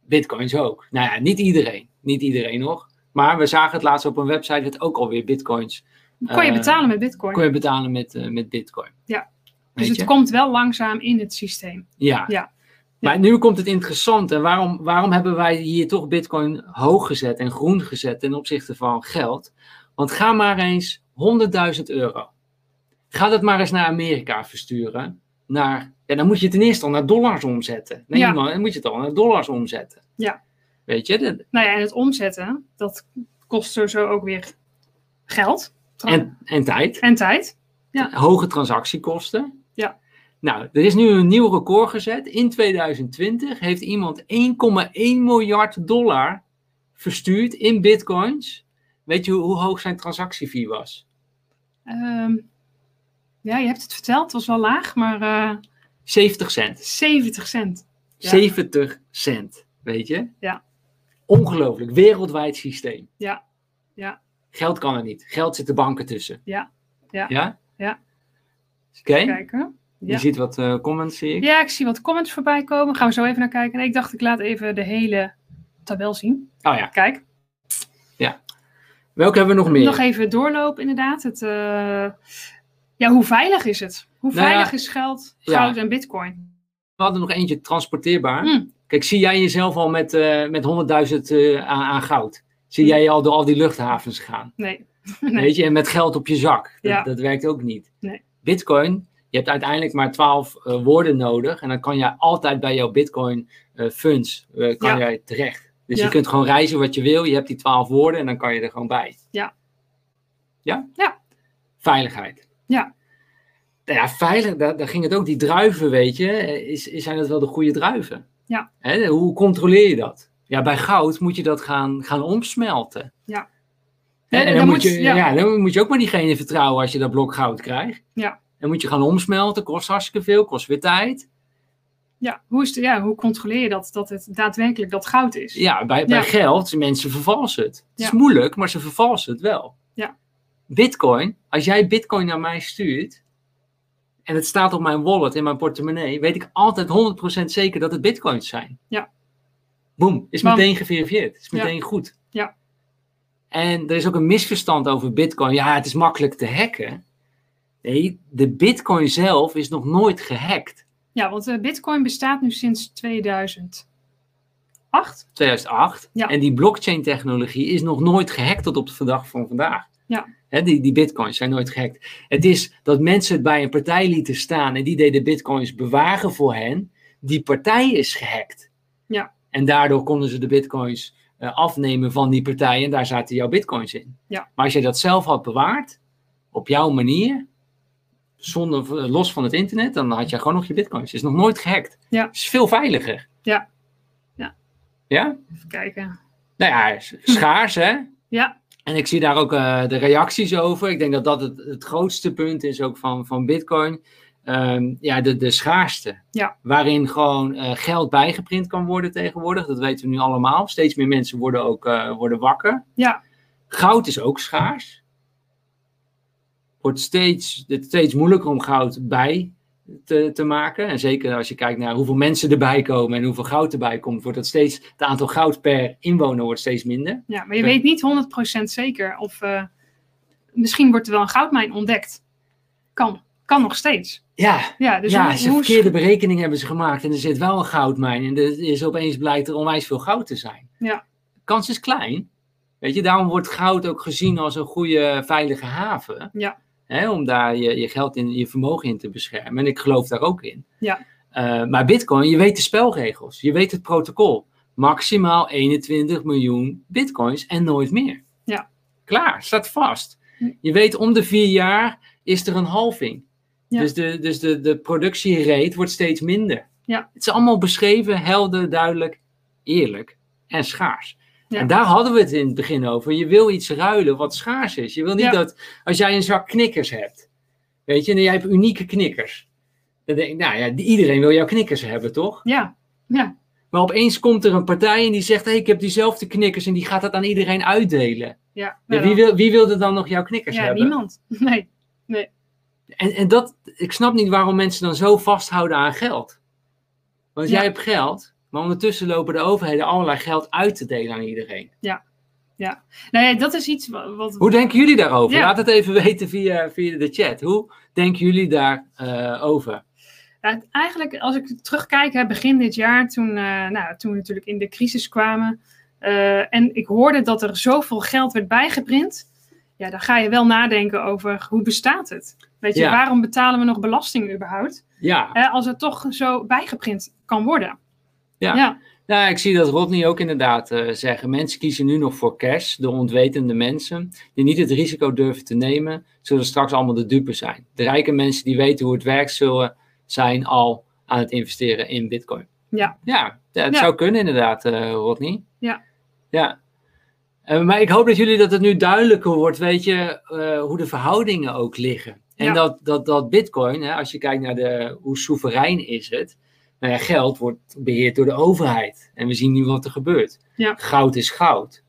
Bitcoins ook. Nou ja, niet iedereen. Niet iedereen nog. Maar we zagen het laatst op een website, werd ook alweer bitcoins
Kon je
Eh,
betalen met bitcoin.
kun je betalen met, eh, met bitcoin.
Ja.
Weet
dus het
je?
komt wel langzaam in het systeem.
Ja.
ja.
Maar nu komt het interessant. En waarom, waarom hebben wij hier toch bitcoin hoog gezet en groen gezet ten opzichte van geld? Want ga maar eens 100.000 euro. Ga dat maar eens naar Amerika versturen. Naar, ja, dan moet je het ten eerste al naar dollars omzetten. Nee,
Ja.
man, dan moet je het al naar dollars omzetten.
Ja.
Weet je? dat-
Nou ja, en het omzetten, dat kost sowieso ook weer geld Tra-
En, en tijd.
en tijd. Ja.
hoge transactiekosten.
Ja.
Nou, er is nu een nieuw record gezet. In 2020 heeft iemand 1,1 miljard dollar verstuurd in bitcoins. Weet je hoe, hoe hoog zijn transactiefee was?
Ehm, ja, je hebt het verteld, het was wel laag, maar eh,
70 cent.
70 cent. Ja.
70 cent, weet je?
Ja.
Ongelooflijk, wereldwijd systeem.
Ja. Ja.
Geld kan er niet. Geld zit de banken tussen.
Ja. Ja.
Ja?
Ja.
Oké,
Kijken.
je
ja.
ziet wat eh, comments, zie ik.
Ja, ik zie wat comments voorbij komen. Gaan we zo even naar kijken. Nee, ik dacht, ik laat even de hele tabel zien.
Oh ja,
Kijk,
welke hebben we nog meer?
nog even doorlopen inderdaad. Het, eh, ja, hoe veilig is het? Hoe
Nou ja,
veilig is geld,
ja.
goud en bitcoin?
We hadden nog eentje transporteerbaar.
Hm.
Kijk, zie jij jezelf al met, eh, met 100.000 eh, aan, aan goud? Zie jij je al door al die luchthavens gaan?
Hmm. Nee.
Weet je, en met geld op je zak. Dat,
Ja.
dat werkt ook niet.
Nee.
Bitcoin, je hebt uiteindelijk maar 12 eh, woorden nodig. En dan kan jij altijd bij jouw Bitcoin eh, funds eh, kan
Ja.
jij terecht. Dus
Ja.
je kunt gewoon reizen wat je wil. Je hebt die 12 woorden en dan kan je er gewoon bij.
Ja.
Ja?
Ja.
Veiligheid.
Ja.
Nou ja, veilig, daar, daar ging het ook. Die druiven, weet je, eh, is, is- zijn dat wel de goede druiven?
Ja.
Hè, hoe controleer je dat? Ja, bij goud moet je dat gaan, gaan omsmelten.
Ja.
Hè,
Ja,
en dan,
dan
moet je,
moet-
ja.
ja.
dan moet je ook maar diegene vertrouwen als je dat blok goud krijgt.
Ja.
Dan moet je gaan omsmelten, kost hartstikke veel, kost weer tijd.
Ja, hoe, is de- ja, hoe controleer je dat, dat het daadwerkelijk dat goud is?
Ja, bij, bij
Ja.
geld, mensen vervalsen het. Het is
Ja.
moeilijk, maar ze vervalsen het wel.
Ja.
Bitcoin, als jij Bitcoin naar mij stuurt en het staat op mijn wallet in mijn portemonnee, weet ik altijd 100% zeker dat het Bitcoins zijn.
Ja.
Boom, is
Bam.
meteen geverifieerd, is
Ja.
meteen goed.
Ja.
En er is ook een misverstand over Bitcoin. Ja, het is makkelijk te hacken. Nee, de Bitcoin zelf is nog nooit gehackt.
Ja, want eh, Bitcoin bestaat nu sinds 2008.
2008.
Ja.
En die blockchain-technologie is nog nooit gehackt tot op de dag van vandaag.
Ja.
Hè, die, die bitcoins zijn nooit gehackt. Het is dat mensen het bij een partij lieten staan en die deden bitcoins bewagen voor hen. Die partij is gehackt.
Ja.
En daardoor konden ze de bitcoins eh, afnemen van die partij en daar zaten jouw bitcoins in.
Ja.
Maar als jij dat zelf had bewaard, op jouw manier, zonder, eh, los van het internet, dan had jij gewoon nog je bitcoins. Het is nog nooit gehackt.
Ja.
Het is veel veiliger.
Ja. Ja.
Ja?
Even kijken.
Nou ja, s- schaars hè.
Ja.
En ik zie daar ook eh, de reacties over. Ik denk dat dat het, het grootste punt is ook van, van Bitcoin. Ehm, ja, de, de schaarste.
Ja.
Waarin gewoon eh, geld bijgeprint kan worden tegenwoordig. Dat weten we nu allemaal. Steeds meer mensen worden ook eh, worden wakker.
Ja.
Goud is ook schaars. Wordt steeds, het is steeds moeilijker om goud bij te, te maken. En zeker als je kijkt naar hoeveel mensen erbij komen en hoeveel goud erbij komt, wordt dat steeds, het aantal goud per inwoner wordt steeds minder.
ja, maar je
Ja.
weet niet 100% zeker of eh, misschien wordt er wel een goudmijn ontdekt. Kan. Kan nog steeds.
Ja,
Ja, dus
ja
hoe,
ze
hoe-
verkeerde berekening hebben ze gemaakt en er zit wel een goudmijn en er is opeens blijkt er onwijs veel goud te zijn.
Ja.
De kans is klein. Weet je, daarom wordt goud ook gezien als een goede veilige haven.
Ja.
Hè, om daar je, je geld in, je vermogen in te beschermen. En ik geloof daar ook in.
Ja.
Eh, maar Bitcoin, je weet de spelregels, je weet het protocol. Maximaal 21 miljoen Bitcoins en nooit meer.
Ja.
Klaar, staat vast.
Hm.
Je weet om de vier jaar is er een halving.
Ja.
Dus, de, dus de, de productierate wordt steeds minder.
Ja.
Het is allemaal beschreven, helder, duidelijk, eerlijk en schaars.
Ja.
En daar hadden we het in het begin over. Je wil iets ruilen wat schaars is. Je wil niet
Ja.
dat als jij een zak knikkers hebt, weet je, en jij hebt unieke knikkers. Dan denk ik, nou ja, die- iedereen wil jouw knikkers hebben, toch?
Ja,
Maar opeens komt er een partij en die zegt, hey, ik heb diezelfde knikkers en die gaat dat aan iedereen uitdelen.
ja.
Ja,
Nou,
wie, wil, wie wilde dan nog jouw knikkers
ja
hebben?
niemand. Nee.
En, en dat, ik snap niet waarom mensen dan zo vasthouden aan geld. Want
Ja.
jij hebt geld, maar ondertussen lopen de overheden allerlei geld uit te delen aan iedereen.
Nee, Nou dat is iets wa- wat...
Hoe denken jullie daarover?
Ja.
Laat het even weten via, via de chat. Hoe denken jullie daarover? over?
Ja, het- eigenlijk, als ik terugkijk, hè, begin dit jaar, toen, eh, nou, toen we natuurlijk in de crisis kwamen. eh, en ik hoorde dat er zoveel geld werd bijgeprint. Ja, dan ga je wel nadenken over hoe bestaat het? Weet je,
Ja.
waarom betalen we nog belasting überhaupt?
ja.
Hè, als het toch zo bijgeprint kan worden.
Ja.
ja.
Nou, ik zie dat Rodney ook inderdaad eh, zeggen. Mensen kiezen nu nog voor cash, de ontwetende mensen, die niet het risico durven te nemen, zullen straks allemaal de dupe zijn. De rijke mensen die weten hoe het werkt, zullen zijn al aan het investeren in bitcoin.
Ja.
Ja, ja het
Ja.
zou kunnen inderdaad, eh, Rodney.
Ja.
Ja. Eh, maar ik hoop dat jullie dat het nu duidelijker wordt, weet je, eh, hoe de verhoudingen ook liggen. En
Ja.
dat, dat, dat bitcoin, hè, als je kijkt naar de, hoe soeverein is het, nou ja, geld wordt beheerd door de overheid. En we zien nu wat er gebeurt.
Ja.
Goud is goud.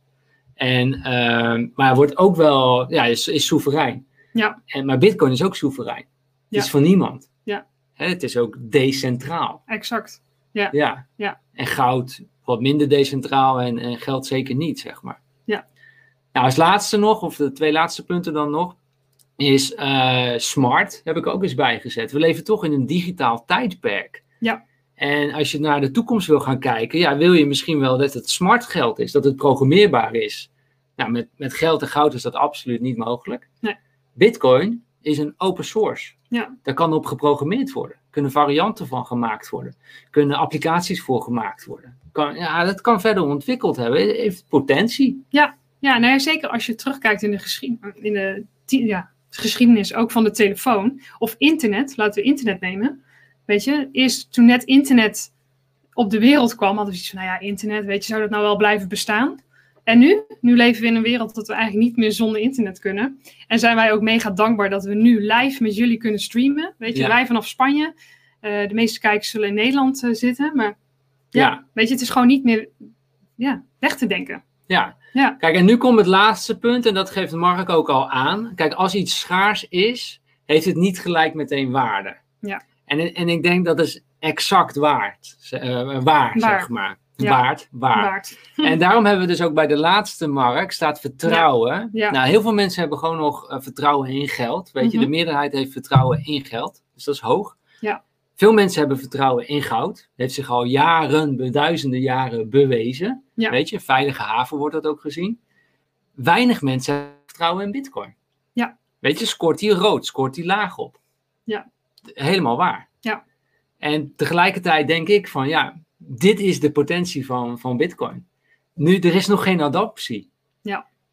En, ehm, maar wordt ook wel, ja, is, is soeverein.
Ja.
En, maar bitcoin is ook
Ja.
soeverein. Het is van niemand.
Ja.
Hè, het is ook decentraal.
Exact.
Ja.
Ja.
En goud wat minder decentraal en, en geld zeker niet, zeg maar.
Ja.
Nou, als laatste nog, of de twee laatste punten dan nog, is eh, smart, heb ik ook eens bijgezet. We leven toch in een digitaal tijdperk.
Ja.
En als je naar de toekomst wil gaan kijken, ja, wil je misschien wel dat het smart geld is, dat het programmeerbaar is. Nou, met, met geld en goud is dat absoluut niet mogelijk.
Nee.
Bitcoin is een open source.
Ja.
Daar kan op geprogrammeerd worden. Kunnen varianten van gemaakt worden. Kunnen applicaties voor gemaakt worden. Kan, ja, dat kan verder ontwikkeld hebben. Het heeft potentie.
Ja, nou ja, zeker als je terugkijkt in de, geschied, in de ti- ja, geschiedenis ook van de telefoon of internet, laten we internet nemen. Weet je, eerst toen net internet op de wereld kwam, hadden we zoiets van, nou ja, internet, weet je, zou dat nou wel blijven bestaan? En nu? Nu leven we in een wereld dat we eigenlijk niet meer zonder internet kunnen. En zijn wij ook mega dankbaar dat we nu live met jullie kunnen streamen. Weet je,
Ja.
wij vanaf Spanje. Eh, de meeste kijkers zullen in Nederland eh, zitten. Maar ja,
Ja.
weet je, het is gewoon niet meer ja, weg te denken.
Ja.
Ja.
Kijk, en nu komt het laatste punt. En dat geeft Mark ook al aan. Kijk, als iets schaars is, heeft het niet gelijk meteen waarde.
Ja.
En, en ik denk dat is exact waard. z- eh, waar, zeg maar.
Ja.
Waard, waar.
Waard.
En daarom hebben we dus ook bij de laatste mark staat vertrouwen.
Ja.
Nou, heel veel mensen hebben gewoon nog eh, vertrouwen in geld. Weet je,
Mhm.
de meerderheid heeft vertrouwen in geld. Dus dat is hoog.
Ja.
Veel mensen hebben vertrouwen in goud. Heeft zich al jaren, be- duizenden jaren bewezen.
Ja.
Weet je, veilige haven wordt dat ook gezien. Weinig mensen hebben vertrouwen in bitcoin.
Ja.
Weet je, scoort die rood, scoort die laag op.
Ja.
Helemaal waar.
Ja.
En tegelijkertijd denk ik van ja, dit is de potentie van, van bitcoin. Nu, er is nog geen adoptie.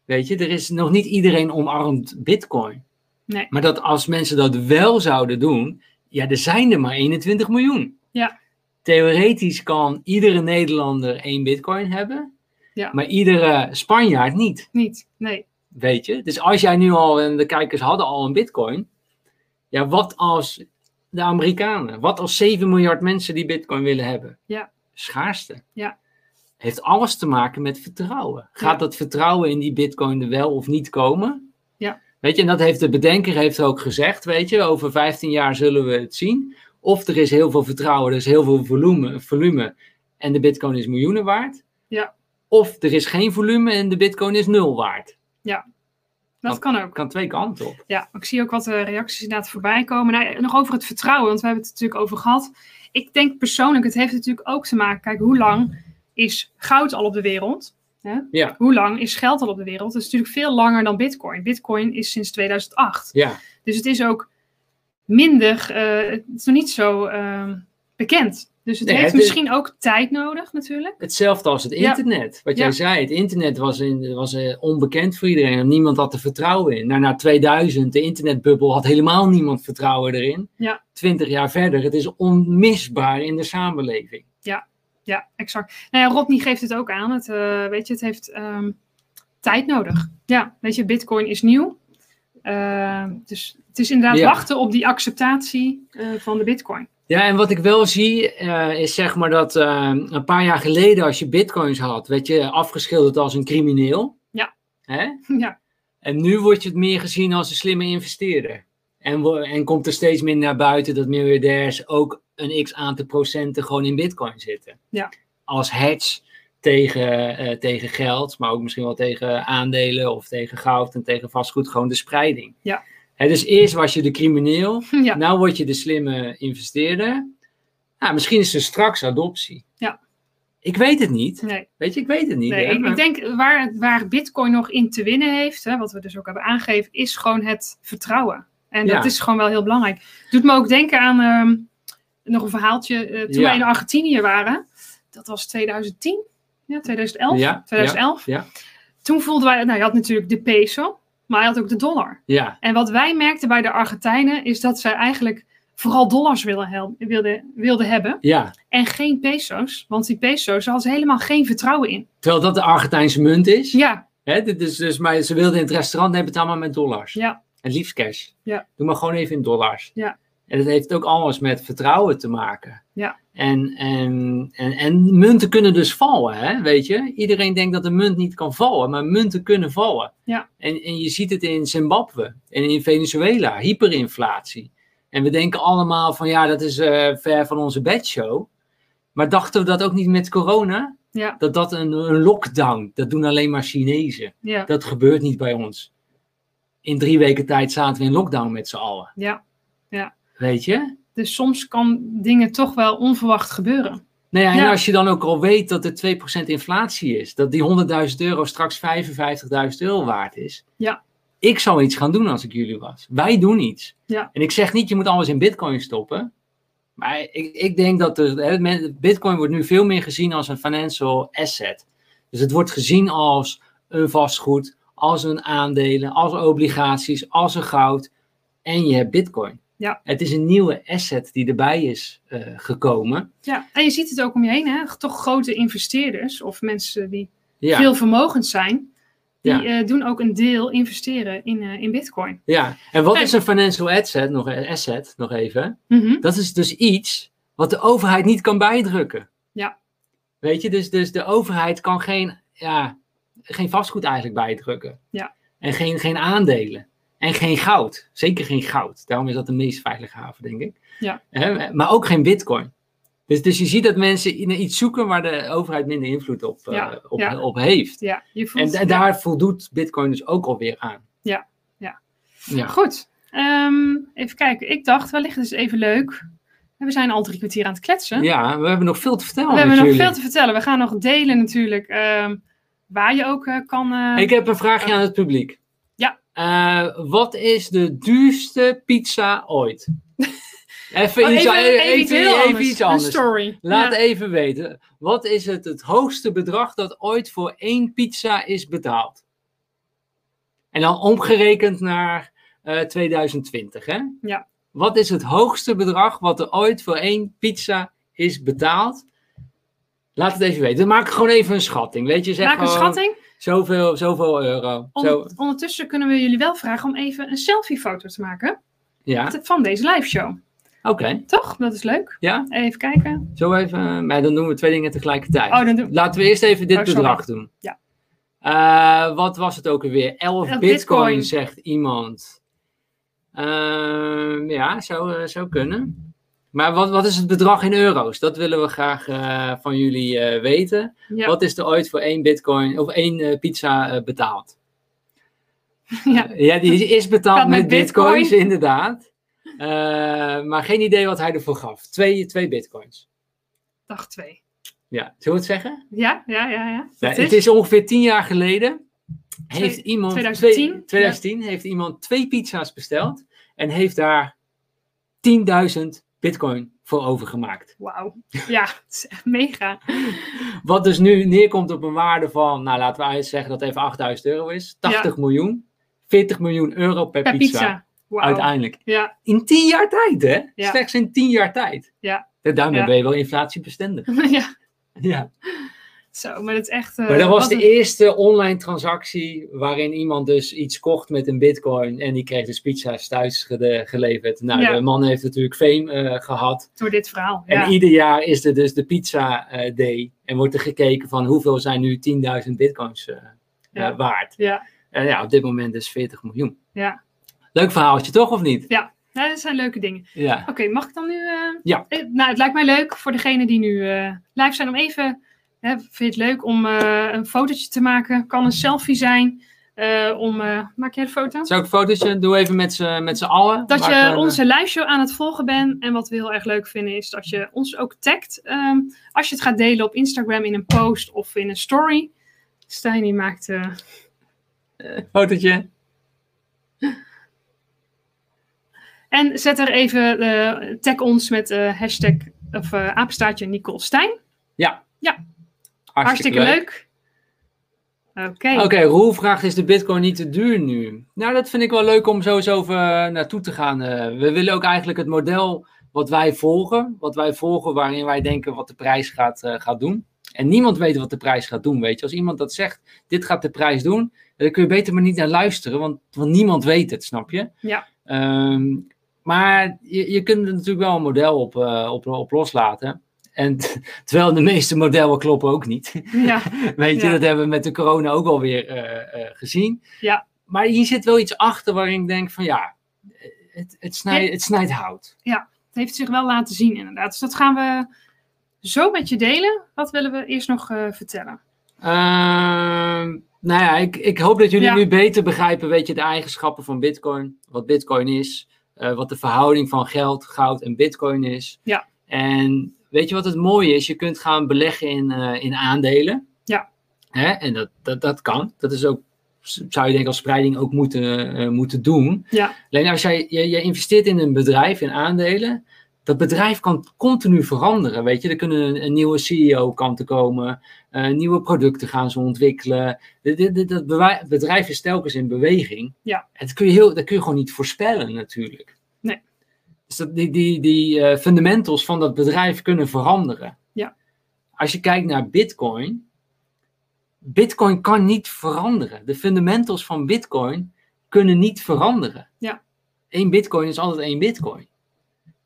Weet je, er is nog niet iedereen omarmt Bitcoin.
Nee.
Maar dat als mensen dat wel zouden doen, ja, er zijn er maar 21 miljoen.
Ja.
Theoretisch kan iedere Nederlander één Bitcoin hebben,
Ja.
maar iedere Spanjaard niet.
Niet, nee.
Weet je, dus als jij nu al, en de kijkers hadden al een Bitcoin, ja, wat als de Amerikanen? Wat als 7 miljard mensen die Bitcoin willen hebben?
Ja.
Schaarste.
Ja.
Heeft alles te maken met vertrouwen. Gaat
Ja.
dat vertrouwen in die Bitcoin er wel of niet komen?
Ja.
Weet je, en dat heeft de bedenker heeft ook gezegd, weet je, over 15 jaar zullen we het zien. Of er is heel veel vertrouwen, er is heel veel volume, volume en de Bitcoin is miljoenen waard.
Ja.
Of er is geen volume en de Bitcoin is nul waard.
Dat kan ook.
Kan twee kanten op.
Ja, ik zie ook wat eh, reacties inderdaad voorbij komen. Nou, nog over het vertrouwen, want we hebben het natuurlijk over gehad. Ik denk persoonlijk, het heeft natuurlijk ook te maken. Kijk, hoe lang is goud al op de wereld? Hè?
Ja.
Hoe lang is geld al op de wereld? Dat is natuurlijk veel langer dan Bitcoin. Bitcoin is sinds 2008.
Ja,
Dus het is ook minder, eh, het is nog niet zo eh, bekend. Dus het
Nee,
heeft
het is-
misschien ook tijd nodig, natuurlijk.
hetzelfde als het
Ja.
internet. Wat jij
Ja.
zei, het internet was, in, was eh, onbekend voor iedereen. en Niemand had er vertrouwen in. Nou, na 2000, de internetbubbel, had helemaal niemand vertrouwen erin.
Ja.
Twintig jaar verder, het is onmisbaar in de samenleving.
Ja, exact. Nou ja, Rodney geeft het ook aan. Het, eh, weet je, het heeft ehm, tijd nodig. Ja, weet je, Bitcoin is nieuw. Eh, dus het is inderdaad
Ja.
wachten op die acceptatie eh, van de Bitcoin.
Ja, en wat ik wel zie eh, is zeg maar dat eh, een paar jaar geleden als je bitcoins had, werd je afgeschilderd als een crimineel.
Ja.
Hè?
ja,
En nu wordt je het meer gezien als een slimme investeerder. En, wo- en komt er steeds meer naar buiten dat miljardairs ook een x aantal procenten gewoon in bitcoin zitten.
Ja.
Als hedge tegen, eh, tegen geld, maar ook misschien wel tegen aandelen of tegen goud en tegen vastgoed, gewoon de spreiding.
Ja.
Hè, dus eerst was je de crimineel,
ja,
nou word je de slimme investeerder. Nou, misschien is er straks adoptie.
Ja.
Ik weet het niet.
nee.
Weet je, ik weet het niet.
nee.
hè,
Ik,
maar-
ik denk waar, waar Bitcoin nog in te winnen heeft, hè, wat we dus ook hebben aangegeven, is gewoon het vertrouwen. En dat
Ja.
is gewoon wel heel belangrijk. Doet me ook denken aan ehm, nog een verhaaltje. eh, toen
Ja.
wij in Argentinië waren, dat was 2010, ja, 2011.
Ja, ja.
2011.
ja.
Toen voelden wij, nou je had natuurlijk de peso, maar je had ook de dollar.
Ja,
En wat wij merkten bij de Argentijnen is dat zij eigenlijk vooral dollars wilden, hel- wilden, wilden hebben
ja.
en geen peso's. Want die peso's, daar hadden ze helemaal geen vertrouwen in.
Terwijl dat de Argentijnse munt is.
Ja,
Hè, dit is dus, maar ze wilden in het restaurant, neem het allemaal met dollars.
Ja.
En liefst cash.
Ja.
Doe maar gewoon even in dollars.
Ja.
En dat heeft ook alles met vertrouwen te maken.
Ja.
En, en, en, en munten kunnen dus vallen, hè? weet je. Iedereen denkt dat een munt niet kan vallen, maar munten kunnen vallen.
Ja.
En, en je ziet het in Zimbabwe en in Venezuela, hyperinflatie. En we denken allemaal van ja, dat is eh, ver van onze bedshow. Maar dachten we dat ook niet met corona?
Ja.
Dat dat een, een lockdown, dat doen alleen maar Chinezen.
ja,
Dat gebeurt niet bij ons. In drie weken tijd zaten we in lockdown met z'n allen.
ja.
Weet je?
Dus soms kan dingen toch wel onverwacht gebeuren.
Nou ja, en
Ja.
als je dan ook al weet dat er 2% inflatie is, dat die 100.000 euro straks 55.000 euro waard is.
Ja.
Ik zou iets gaan doen als ik jullie was. Wij doen iets.
Ja.
En ik zeg niet, je moet alles in bitcoin stoppen. Maar ik, ik denk dat er, hè, men- bitcoin wordt nu veel meer gezien als een financial asset. Dus het wordt gezien als een vastgoed, als een aandelen, als obligaties, als een goud. En je hebt bitcoin.
Ja.
Het is een nieuwe asset die erbij is eh, gekomen.
Ja, en je ziet het ook om je heen, hè? Toch grote investeerders of mensen die
Ja.
veel vermogend zijn, die
Ja.
eh, doen ook een deel investeren in, eh, in Bitcoin.
Ja, en wat
En-
is een financial asset nog, e- asset, nog even?
Mhm.
Dat is dus iets wat de overheid niet kan bijdrukken.
Ja.
Weet je, dus, dus de overheid kan geen, ja, geen vastgoed eigenlijk bijdrukken.
Ja.
En geen, geen aandelen. En geen goud. Zeker geen goud. Daarom is dat de meest veilige haven, denk ik.
Ja.
Hè, maar ook geen bitcoin. Dus, dus je ziet dat mensen in- iets zoeken waar de overheid minder invloed op, eh,
Ja,
op,
ja.
op heeft.
Ja, je voelt
En da-
ja.
daar voldoet bitcoin dus ook alweer aan.
Ja, ja.
ja.
Goed, Ehm, even kijken. Ik dacht, wellicht is het even leuk. We zijn al drie kwartier aan het kletsen.
Ja, we hebben nog veel te vertellen.
we hebben
met
nog
jullie.
veel te vertellen. We gaan nog delen natuurlijk, ehm, waar je ook eh, kan... eh,
Ik heb een vraagje aan het publiek.
Ja.
Eh, wat is de duurste pizza ooit? even,
Oh,
iets,
even,
a-
even iets heel
even
anders.
iets anders.
Een story.
Laat
Ja.
even weten. Wat is het, het hoogste bedrag dat ooit voor één pizza is betaald? En dan omgerekend naar eh, 2020, hè?
Ja.
Wat is het hoogste bedrag wat er ooit voor één pizza is betaald? Laat het even weten. Maak gewoon even een schatting. Weet je, zeg
Maak een
gewoon
schatting.
Zoveel, zoveel euro. Zo,
Onder- Ondertussen kunnen we jullie wel vragen om even een selfiefoto te maken
ja,
van deze live show.
oké.
Toch? Dat is leuk.
Ja.
Even kijken.
Zo even, maar dan doen we twee dingen tegelijkertijd.
Oh, dan doen-
Laten we eerst even dit
Oh, sorry.
bedrag doen.
Ja.
Eh, wat was het ook alweer? 11
Elf
bitcoin,
bitcoin.
zegt iemand. Ehm, ja, zou, eh, zou kunnen. Maar wat, wat is het bedrag in euro's? Dat willen we graag eh, van jullie eh, weten.
Ja.
Wat is er ooit voor één bitcoin of één eh, pizza eh, betaald?
Ja.
ja, die is betaald
Gaat
met,
met
bitcoins,
bitcoin.
inderdaad. Eh, maar geen idee wat hij ervoor gaf. Twee, twee bitcoins.
Dag 2.
Ja, zullen we het zeggen?
Ja, ja, ja. ja.
Ja,
Dat
het is ongeveer tien jaar geleden. Heeft
Twee-
iemand,
2010,
twee- 2010 heeft iemand twee pizza's besteld en heeft daar 10.000 bitcoin voor overgemaakt.
Wauw. Ja, het is echt mega.
Wat dus nu neerkomt op een waarde van, nou laten we zeggen dat het even 8000 euro is, 80 miljoen, 40 miljoen euro per,
Per
pizza.
pizza. Wauw.
Uiteindelijk.
Ja.
In 10 jaar tijd, hè?
Ja.
Slechts in 10 jaar tijd.
Ja.
En Daarmee
Ja.
ben je wel inflatiebestendig.
ja,
Ja.
zo. Maar dat is echt... eh,
Maar dat was
wat
de
een-
eerste online transactie waarin iemand dus iets kocht met een bitcoin en die kreeg dus pizza's thuis gede- geleverd. Nou,
Ja.
de man heeft natuurlijk fame eh, gehad.
Door dit verhaal.
En
Ja.
ieder jaar is er dus de pizza eh, day en wordt er gekeken van hoeveel zijn nu 10.000 bitcoins eh, eh,
Ja.
waard.
ja.
En ja, op dit moment dus 40 miljoen.
Ja.
Leuk verhaaltje toch of niet?
ja, dat zijn leuke dingen.
Ja.
Oké, mag ik dan nu... eh,
Ja.
eh, nou, het lijkt mij leuk voor degenen die nu eh, live zijn om even... Hè, vind je het leuk om eh, een fotootje te maken? Kan een selfie zijn. eh, om, eh, maak jij de foto?
Zou ik een fotootje doen even met z'n met z'n allen?
Dat
Maak
je
eh, een-
onze live show aan het volgen bent. En wat we heel erg leuk vinden is dat je ons ook tagt. ehm, als je het gaat delen op Instagram in een post of in een story. Stijn die maakt... eh,
eh, fotootje.
en zet er even... eh, tag ons met eh, hashtag... Of eh apenstaartje Nicole Stijn.
Hartstikke,
Hartstikke,
leuk.
leuk. Oké.
Oké, Roel vraagt, is de bitcoin niet te duur nu? Nou, dat vind ik wel leuk om zo eens over naartoe te gaan. Eh, we willen ook eigenlijk het model wat wij volgen, wat wij volgen waarin wij denken wat de prijs gaat, eh, gaat doen. En niemand weet wat de prijs gaat doen, weet je. Als iemand dat zegt, dit gaat de prijs doen, dan kun je beter maar niet naar luisteren, want, want niemand weet het, snap je?
Ja.
Ehm, maar je, je kunt er natuurlijk wel een model op, eh, op, op loslaten. En terwijl de meeste modellen kloppen ook niet.
Ja,
Weet je,
Ja.
dat hebben we met de corona ook alweer eh, eh, gezien.
Ja.
Maar hier zit wel iets achter waarin ik denk van ja, het, het, snij,
Nee.
het snijdt hout.
het heeft zich wel laten zien inderdaad. Dus dat gaan we zo met je delen. Wat willen we eerst nog eh, vertellen?
Ehm, nou ja, ik, ik hoop dat jullie
Ja.
nu beter begrijpen, weet je, de eigenschappen van bitcoin. Wat bitcoin is, eh, eh, wat de verhouding van geld, goud en bitcoin is.
Ja.
En weet je wat het mooie is? Je kunt gaan beleggen in, eh, in aandelen.
Ja.
Hè? En dat, dat, dat kan. Dat is ook, zou je denk ik als spreiding ook moeten, eh, moeten doen.
Ja.
Alleen als jij, jij, jij investeert in een bedrijf, in aandelen. Dat bedrijf kan continu veranderen, weet je. Er kunnen een, een nieuwe CEO kan te komen, eh, nieuwe producten gaan ze ontwikkelen. Dit- dit- dit- Dat bewij- bedrijf is telkens in beweging.
Ja.
En Dat kun je, heel, dat kun je gewoon niet voorspellen natuurlijk.
Nee.
Dus dat, die, die, die eh, fundamentals van dat bedrijf kunnen veranderen.
Ja.
Als je kijkt naar bitcoin, bitcoin kan niet veranderen. De fundamentals van bitcoin kunnen niet veranderen.
Ja.
Eén bitcoin is altijd één bitcoin.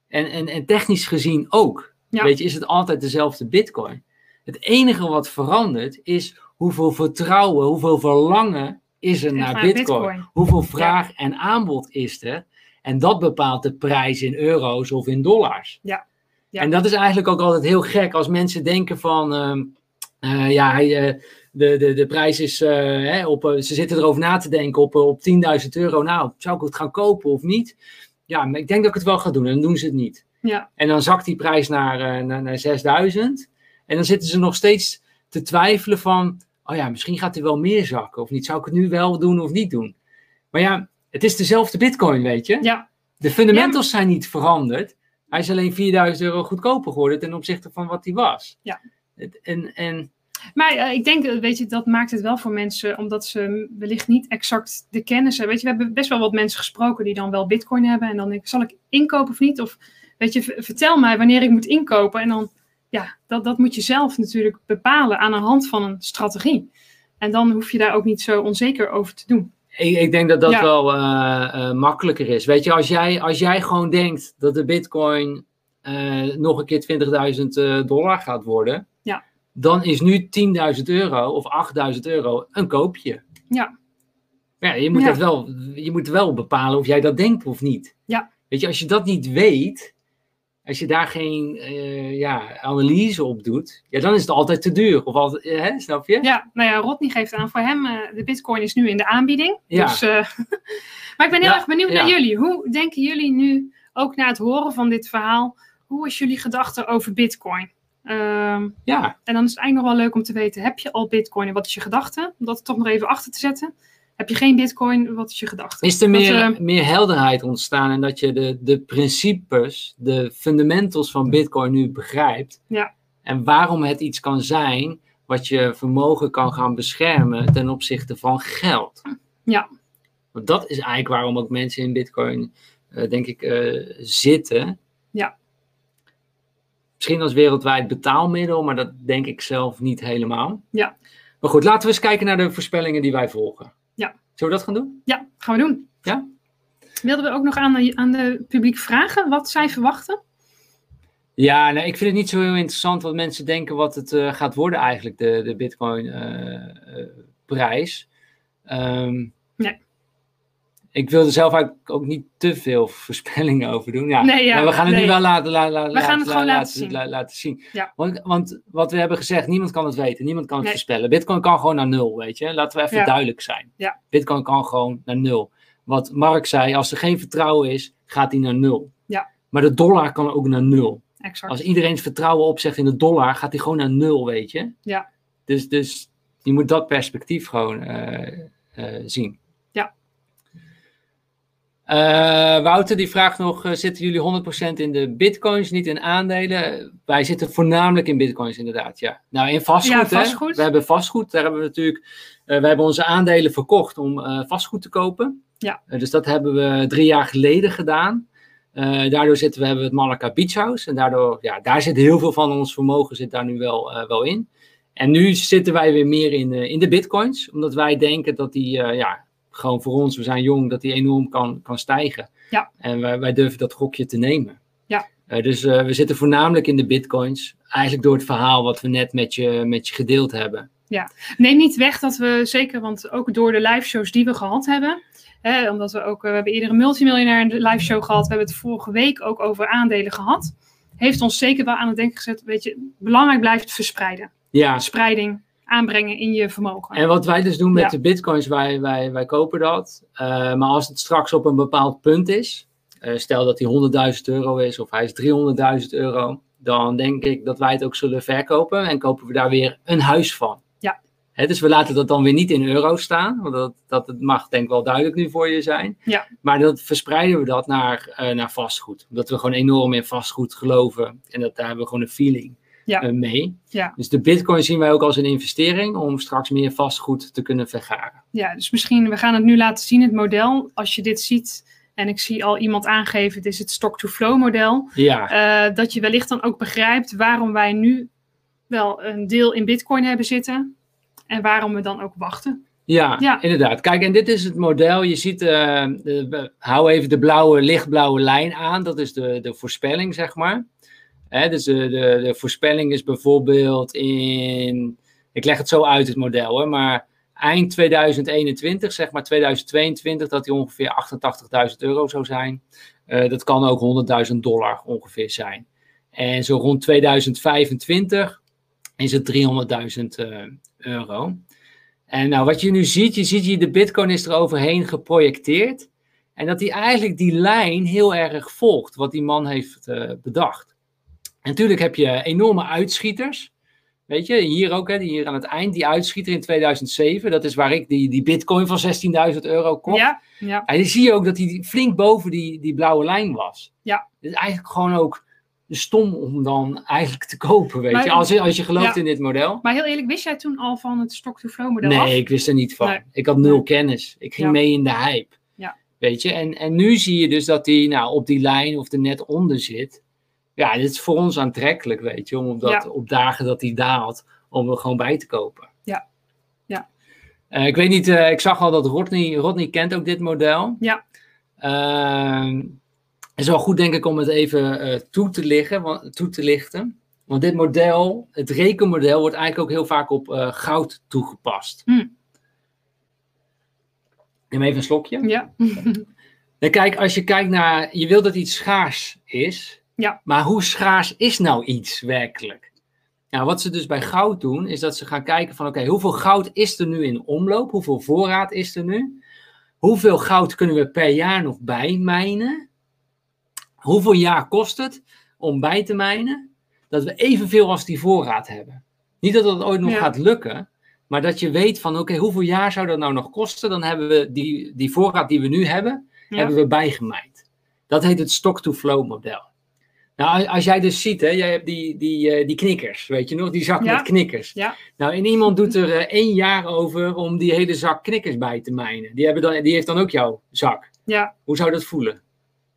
En, en, en technisch gezien ook.
Ja.
Weet je, is het altijd dezelfde bitcoin. Het enige wat verandert is hoeveel vertrouwen, hoeveel verlangen is er naar
Naar
bitcoin.
Bitcoin.
Hoeveel vraag en aanbod is er? En dat bepaalt de prijs in euro's of in dollars.
Ja. Ja.
En dat is eigenlijk ook altijd heel gek als mensen denken van, ehm, eh, ja, hij, eh, de, de, de prijs is, eh, hè, op, eh, ze zitten erover na te denken op, eh, op 10.000 euro. Nou, zou ik het gaan kopen of niet? Ja, maar ik denk dat ik het wel ga doen en dan doen ze het niet.
Ja,
En dan zakt die prijs naar, eh, naar, naar 6000. En dan zitten ze nog steeds te twijfelen van, oh ja, misschien gaat hij wel meer zakken of niet. Zou ik het nu wel doen of niet doen? Maar ja, het is dezelfde bitcoin, weet je.
ja,
De fundamentals zijn niet veranderd. Hij is alleen 4000 euro goedkoper geworden ten opzichte van wat hij was.
Ja.
Het- En, en
maar eh, ik denk, eh, weet je, dat maakt het wel voor mensen, omdat ze wellicht niet exact de kennis hebben. Weet je, we hebben best wel wat mensen gesproken die dan wel bitcoin hebben. En dan denk ik, zal ik inkopen of niet? Of, weet je, v- vertel mij wanneer ik moet inkopen. En dan, ja, dat, dat moet je zelf natuurlijk bepalen aan de hand van een strategie. En dan hoef je daar ook niet zo onzeker over te doen.
ik, ik denk dat dat
Ja.
wel eh, eh, makkelijker is. Weet je, als jij, als jij gewoon denkt dat de bitcoin eh, nog een keer 20.000 eh, dollar gaat worden,
Ja.
dan is nu 10.000 euro of 8.000 euro een koopje.
Ja.
Ja, je moet,
Ja.
Dat wel, je moet wel bepalen of jij dat denkt of niet.
Ja.
Weet je, als je dat niet weet, als je daar geen eh, ja, analyse op doet, ja, dan is het altijd te duur. Of altijd, hè, snap je?
Ja, nou ja, Rodney geeft aan voor hem, eh, de bitcoin is nu in de aanbieding.
Ja.
Dus, eh, maar ik ben heel
Ja,
erg benieuwd naar
ja.
jullie. Hoe denken jullie nu, ook na het horen van dit verhaal, hoe is jullie gedachte over bitcoin? Ehm,
ja.
en dan is het eigenlijk nog wel leuk om te weten, heb je al bitcoin en wat is je gedachte? Om dat toch nog even achter te zetten. Heb je geen bitcoin, wat is je gedachte?
Is er
Dat,
meer,
eh,
meer helderheid ontstaan en dat je de, de principes, de fundamentals van Bitcoin nu begrijpt?
Ja.
En waarom het iets kan zijn wat je vermogen kan gaan beschermen ten opzichte van geld?
Ja.
Want dat is eigenlijk waarom ook mensen in Bitcoin, eh, denk ik, eh, zitten.
Ja.
Misschien als wereldwijd betaalmiddel, maar dat denk ik zelf niet helemaal.
Ja.
Maar goed, laten we eens kijken naar de voorspellingen die wij volgen.
Ja.
Zullen we dat gaan doen?
Ja, gaan we doen.
Ja.
Wilden we ook nog aan, de- aan de publiek vragen wat zij verwachten?
Ja, nou, ik vind het niet zo heel interessant wat mensen denken wat het eh, gaat worden eigenlijk, de, de eh, Bitcoin-prijs.
Nee.
Ehm, Ik wil er zelf eigenlijk ook niet te veel voorspellingen over doen. Ja,
Nee, ja,
maar we gaan het
nee.
nu wel laten, la- la-
We gaan het gewoon laten zien.
la- laten zien.
Ja.
Want, want wat we hebben gezegd, niemand kan het weten, niemand kan het
Nee.
voorspellen. Bitcoin kan gewoon naar nul, weet je. Laten we even
Ja.
duidelijk zijn.
Ja.
Bitcoin kan gewoon naar nul. Wat Mark zei, als er geen vertrouwen is, gaat hij naar nul.
Ja.
Maar de dollar kan ook naar nul.
Exact.
Als iedereen het vertrouwen opzegt in de dollar, gaat die gewoon naar nul, weet je?
Ja.
Dus, dus je moet dat perspectief gewoon eh, eh, zien.
Ja.
Eh, Wouter die vraagt nog, eh, zitten jullie 100% in de bitcoins, niet in aandelen? Wij zitten voornamelijk in bitcoins inderdaad, ja. Nou, in vastgoed,
Ja, vastgoed.
Hè? We hebben vastgoed, daar hebben we natuurlijk, eh, we hebben onze aandelen verkocht om eh, vastgoed te kopen.
Ja.
Eh, dus dat hebben we drie jaar geleden gedaan. Eh, daardoor zitten we, hebben we het Malaga Beach House. En daardoor, ja, daar zit heel veel van ons vermogen zit daar nu wel, eh, wel in. En nu zitten wij weer meer in, eh, in de bitcoins. Omdat wij denken dat die, eh, ja, gewoon voor ons, we zijn jong, dat die enorm kan, kan stijgen.
Ja.
En wij, wij durven dat gokje te nemen.
Ja.
Eh, dus eh, we zitten voornamelijk in de bitcoins. Eigenlijk door het verhaal wat we net met je, met je gedeeld hebben.
Neem niet weg dat we zeker, want ook door de live shows die we gehad hebben. Hè, omdat we ook, eh, we hebben eerder een multimiljonair in de live show gehad. We hebben het vorige week ook over aandelen gehad. Heeft ons zeker wel aan het denken gezet. Weet je, belangrijk blijft verspreiden.
Ja,
Spreiding aanbrengen in je vermogen.
En wat wij dus doen met
Ja.
de bitcoins, wij, wij, wij kopen dat. Eh, maar als het straks op een bepaald punt is, eh, Eh, stel dat hij 100.000 euro is of hij is 300.000 euro. Dan denk ik dat wij het ook zullen verkopen en kopen we daar weer een huis van.
Ja.
Hè, dus we laten dat dan weer niet in euro staan, want dat, dat het mag denk ik wel duidelijk nu voor je zijn.
Ja.
Maar dat verspreiden we dat naar, eh, naar vastgoed. Omdat we gewoon enorm in vastgoed geloven en dat, daar hebben we gewoon een feeling
Ja.
eh, mee.
Ja.
Dus de bitcoin zien wij ook als een investering om straks meer vastgoed te kunnen vergaren.
Ja, dus misschien, we gaan het nu laten zien, het model. Als je dit ziet, en ik zie al iemand aangeven, het is het stock-to-flow model.
Ja,
eh, dat je wellicht dan ook begrijpt waarom wij nu wel een deel in bitcoin hebben zitten. En waarom we dan ook wachten.
Ja,
Ja.
inderdaad. Kijk, en dit is het model. Je ziet, eh, eh, we- hou even de blauwe, lichtblauwe lijn aan. Dat is de, de voorspelling, zeg maar. Hè, dus de, de, de voorspelling is bijvoorbeeld in. Ik leg het zo uit, het model, hè, maar eind 2021, zeg maar 2022, dat die ongeveer 88.000 euro zou zijn. Eh, dat kan ook 100.000 dollar ongeveer zijn. En zo rond 2025 is het 300.000 eh, euro. En nou, wat je nu ziet, je ziet hier de bitcoin is er overheen geprojecteerd. En dat hij eigenlijk die lijn heel erg volgt, wat die man heeft eh, bedacht. En natuurlijk heb je enorme uitschieters. Weet je, hier ook, hè, die hier aan het eind, die uitschieter in 2007. Dat is waar ik die, die bitcoin van 16.000 euro kocht.
Ja, ja,
En dan zie je ook dat hij flink boven die, die blauwe lijn was.
Ja.
Het is eigenlijk gewoon ook stom om dan eigenlijk te kopen, weet
Maar-
je. Als, je- als je gelooft
Ja.
in dit model.
maar heel eerlijk, wist jij toen al van het stock-to-flow model
Nee,
af?
ik wist er niet van.
Nee.
Ik had nul
Nee.
kennis. Ik ging
Ja.
mee in de hype.
Ja.
Weet je, en, en nu zie je dus dat die nou, op die lijn of er net onder zit. Ja, dit is voor ons aantrekkelijk, weet je, om op, dat,
Ja.
op dagen dat die daalt, om er gewoon bij te kopen.
Ja. Ja.
Eh, ik weet niet, eh, ik zag al dat Rodney, Rodney kent ook dit model.
Ja.
Ehm, het is wel goed, denk ik, om het even eh, toe, te liggen, wa- toe te lichten. Want dit model, het rekenmodel, wordt eigenlijk ook heel vaak op eh, goud toegepast.
Hmm.
Neem even een slokje.
Ja,
Nou, kijk, als je kijkt naar, je wil dat iets schaars is.
Ja.
Maar hoe schaars is nou iets werkelijk? Nou, wat ze dus bij goud doen, is dat ze gaan kijken van, oké, hoeveel goud is er nu in omloop? Hoeveel voorraad is er nu? Hoeveel goud kunnen we per jaar nog bijmijnen? Hoeveel jaar kost het om bij te mijnen? Dat we evenveel als die voorraad hebben. Niet dat dat ooit nog
Ja.
gaat lukken, maar dat je weet van, oké, hoeveel jaar zou dat nou nog kosten? Dan hebben we die, die voorraad die we nu hebben,
ja.
hebben we bijgemaaid. Dat heet het stock-to-flow model. Nou, a- als jij dus ziet, hè, jij hebt die, die, eh, die knikkers, weet je nog, die zak
Ja.
met knikkers.
Ja.
Nou, en iemand doet er eh, één jaar over om die hele zak knikkers bij te mijnen. Die, hebben dan, die heeft dan ook jouw zak.
Ja.
Hoe zou dat voelen?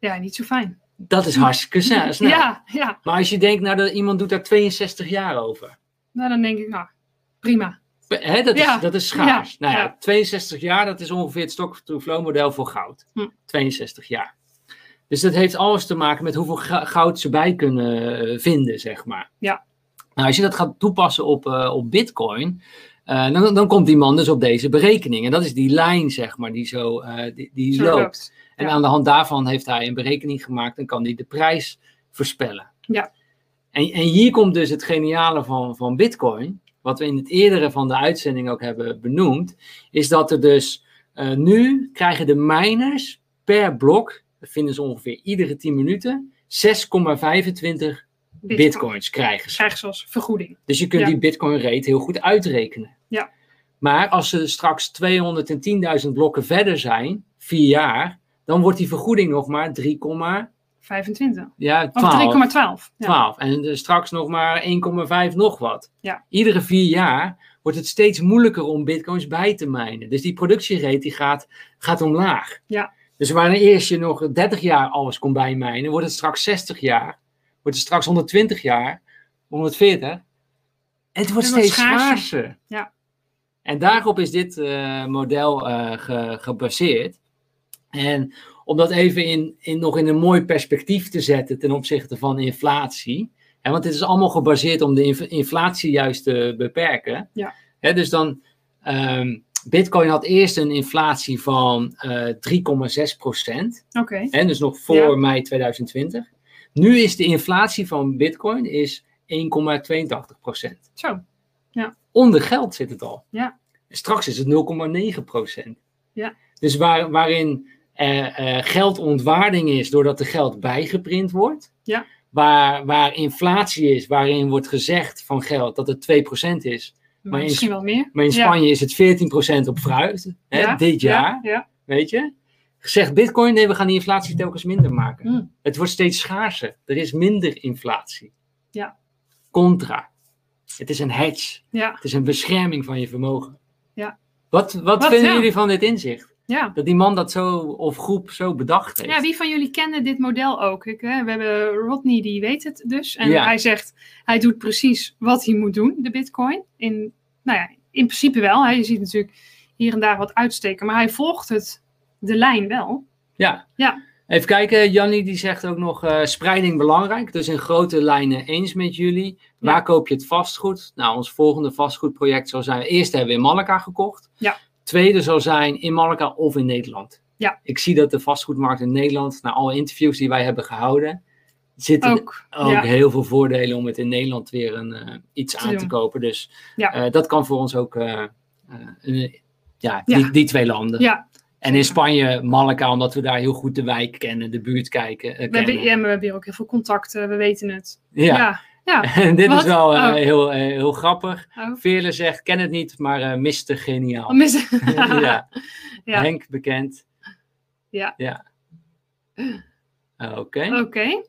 ja, niet zo fijn.
Dat is hartstikke sne- snel.
Ja, ja.
Maar als je denkt, nou, dat iemand doet daar 62 jaar over.
Nou, dan denk ik, nou, prima.
Hè, dat, is,
Ja.
dat is schaars.
Ja.
Nou ja,
Ja.
62 jaar, dat is ongeveer het stock-to-flow model voor goud.
Hm.
62 jaar. Dus dat heeft alles te maken met hoeveel ga- goud ze bij kunnen eh, vinden, zeg maar.
Ja.
Nou, als je dat gaat toepassen op, eh, op bitcoin, eh, dan, dan komt die man dus op deze berekening. En dat is die lijn, zeg maar, die zo eh, die, die
Zo
loopt.
loopt.
En
Ja.
aan de hand daarvan heeft hij een berekening gemaakt en kan hij de prijs voorspellen.
Ja.
En, en hier komt dus het geniale van, van Bitcoin, wat we in het eerdere van de uitzending ook hebben benoemd, is dat er dus eh, nu krijgen de miners per blok, dat vinden ze ongeveer iedere 10 minuten, 6,25 bitcoins krijgen ze.
Krijgen ze als vergoeding.
Dus je kunt
Ja.
die bitcoin rate heel goed uitrekenen.
Ja.
Maar als ze straks 210.000 blokken verder zijn, vier jaar, dan wordt die vergoeding nog maar 3,
25.
ja,
Of 3,12.
12.
Ja.
12. En eh, straks nog maar 1,5 nog wat.
Ja.
Iedere vier jaar wordt het steeds moeilijker om bitcoins bij te mijnen. Dus die productierate die gaat, gaat omlaag.
Ja.
Dus waar eerst je nog 30 jaar alles kon bijmijnen, wordt het straks 60 jaar. Wordt het straks 120 jaar, 140. En het wordt
Het wordt
steeds
schaarser.
schaarser.
Ja.
En daarop is dit eh, model eh, ge- gebaseerd. En om dat even in, in, nog in een mooi perspectief te zetten ten opzichte van inflatie. Hè, want dit is allemaal gebaseerd om de inf- inflatie juist te beperken.
Ja.
Hè, dus dan, ehm, Bitcoin had eerst een inflatie van eh 3,6 procent.
Oké.
Hè, dus nog voor
Ja.
mei 2020. Nu is de inflatie van Bitcoin is 1,82 procent.
Zo.
Onder geld zit het al.
Ja.
Straks is het 0,9 procent.
Ja.
Dus waar, waarin eh, eh, geldontwaarding is doordat er geld bijgeprint wordt.
Ja.
Waar, waar inflatie is, waarin wordt gezegd van geld dat het 2% is. Maar in-
misschien wel meer.
Maar in
Ja.
Spanje is het 14% op fruit hè,
Ja,
dit jaar.
Ja, ja.
Weet je? Zegt Bitcoin, nee, we gaan die inflatie telkens minder maken.
Hmm.
Het wordt steeds schaarser. Er is minder inflatie.
Ja.
Contra. Het is een hedge.
ja.
Het is een bescherming van je vermogen.
Ja.
Wat, wat,
Wat, nou?
vinden
ja.
jullie van dit inzicht?
ja.
Dat die man dat zo, of groep, zo bedacht heeft.
Ja, wie van jullie kende dit model ook? Ik, hè, we hebben Rodney, die weet het dus. En
Ja.
hij zegt, hij doet precies wat hij moet doen, de bitcoin. In, nou ja, in principe wel. Hè. Je ziet natuurlijk hier en daar wat uitsteken. Maar hij volgt het, de lijn wel.
Ja.
Ja.
Even kijken, Jannie die zegt ook nog eh, spreiding belangrijk. Dus in grote lijnen eens met jullie. Waar
Ja.
koop je het vastgoed? Nou, ons volgende vastgoedproject zal zijn. Eerst hebben we in Malaga gekocht.
Ja.
Tweede zal zijn in Malaga of in Nederland.
Ja.
Ik zie dat de vastgoedmarkt in Nederland, na alle interviews die wij hebben gehouden, zitten ook,
Ook. ja.
heel veel voordelen om het in Nederland weer een, eh, iets aan te
doen.
kopen. Dus
Ja.
eh, dat kan voor ons ook. eh, eh, een- ja,
Ja.
Die, die twee landen.
ja,
En in Spanje, Malaga, omdat we daar heel goed de wijk kennen, de buurt kijken. eh,
we hebben,
kennen.
ja, maar we hebben hier ook heel veel contacten. We weten het.
Ja.
ja. ja.
En dit
Wat?
is wel eh,
Oh.
heel, eh, heel grappig.
Oh.
Veerle zegt, ken het niet, maar eh Mister Geniaal.
Oh, mis-
ja.
Ja.
Henk bekend.
Ja. Oh.
ja. Ah, Oké.
Oké.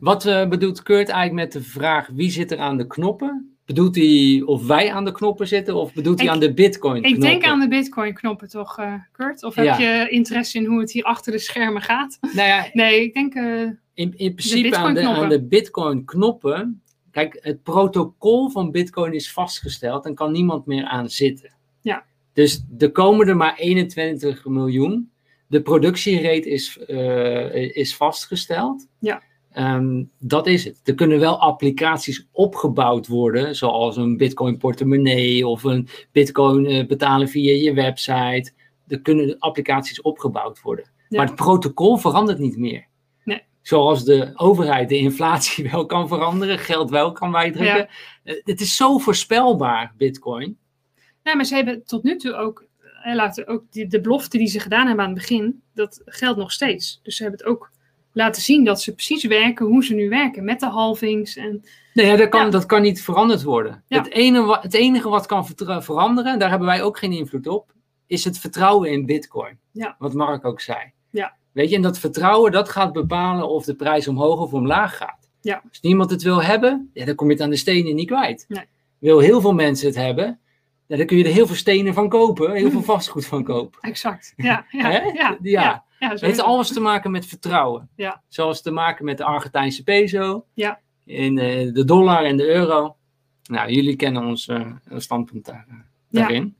Wat eh, bedoelt Kurt eigenlijk met de vraag, wie zit er aan de knoppen? Bedoelt hij of wij aan de knoppen zitten of bedoelt hij
Ik-
aan de bitcoin
Ik denk
knoppen?
aan de bitcoin-knoppen toch, eh, Kurt? Of heb
Ja.
je interesse in hoe het hier achter de schermen gaat?
Nou ja,
Nee, ik denk... eh,
In, in principe aan, de,
Bitcoin-knoppen.
aan de Bitcoin-knoppen. Kijk, het protocol van Bitcoin is vastgesteld en kan niemand meer aan zitten.
Ja.
Dus er komen er maar 21 miljoen. De productierate is, eh, is vastgesteld.
Ja.
Ehm, dat is het. Er kunnen wel applicaties opgebouwd worden, zoals een Bitcoin portemonnee of een Bitcoin eh, betalen via je website. Er kunnen applicaties opgebouwd worden.
Ja.
Maar het protocol verandert niet meer.
Nee.
Zoals de overheid de inflatie wel kan veranderen, geld wel kan bijdrukken.
Ja.
Eh, het is zo voorspelbaar, Bitcoin.
Nee, Nou, maar ze hebben tot nu toe ook, hè, laten ook die, de belofte die ze gedaan hebben aan het begin, dat geldt nog steeds. Dus ze hebben het ook laten zien dat ze precies werken hoe ze nu werken, met de halvings. En,
Nee, ja, dat, kan,
Ja.
dat kan niet veranderd worden.
Ja.
Het, ene, wa- het enige wat kan vertra- veranderen, daar hebben wij ook geen invloed op, is het vertrouwen in Bitcoin.
Ja.
Wat Mark ook zei.
Ja.
Weet je, en dat vertrouwen dat gaat bepalen of de prijs omhoog of omlaag gaat.
Ja.
Als niemand het wil hebben, ja, dan kom je het aan de stenen niet kwijt.
Nee.
Wil heel veel mensen het hebben, ja, dan kun je er heel veel stenen van kopen, heel veel vastgoed van kopen.
exact. Ja, ja,
Hè?
ja, ja,
Ja.
ja, zo
Het heeft
is het.
alles te maken met vertrouwen.
Ja.
Zoals te maken met de Argentijnse peso.
Ja.
En eh, de dollar en de euro. Nou, jullie kennen ons eh, standpunt daar, eh, daarin.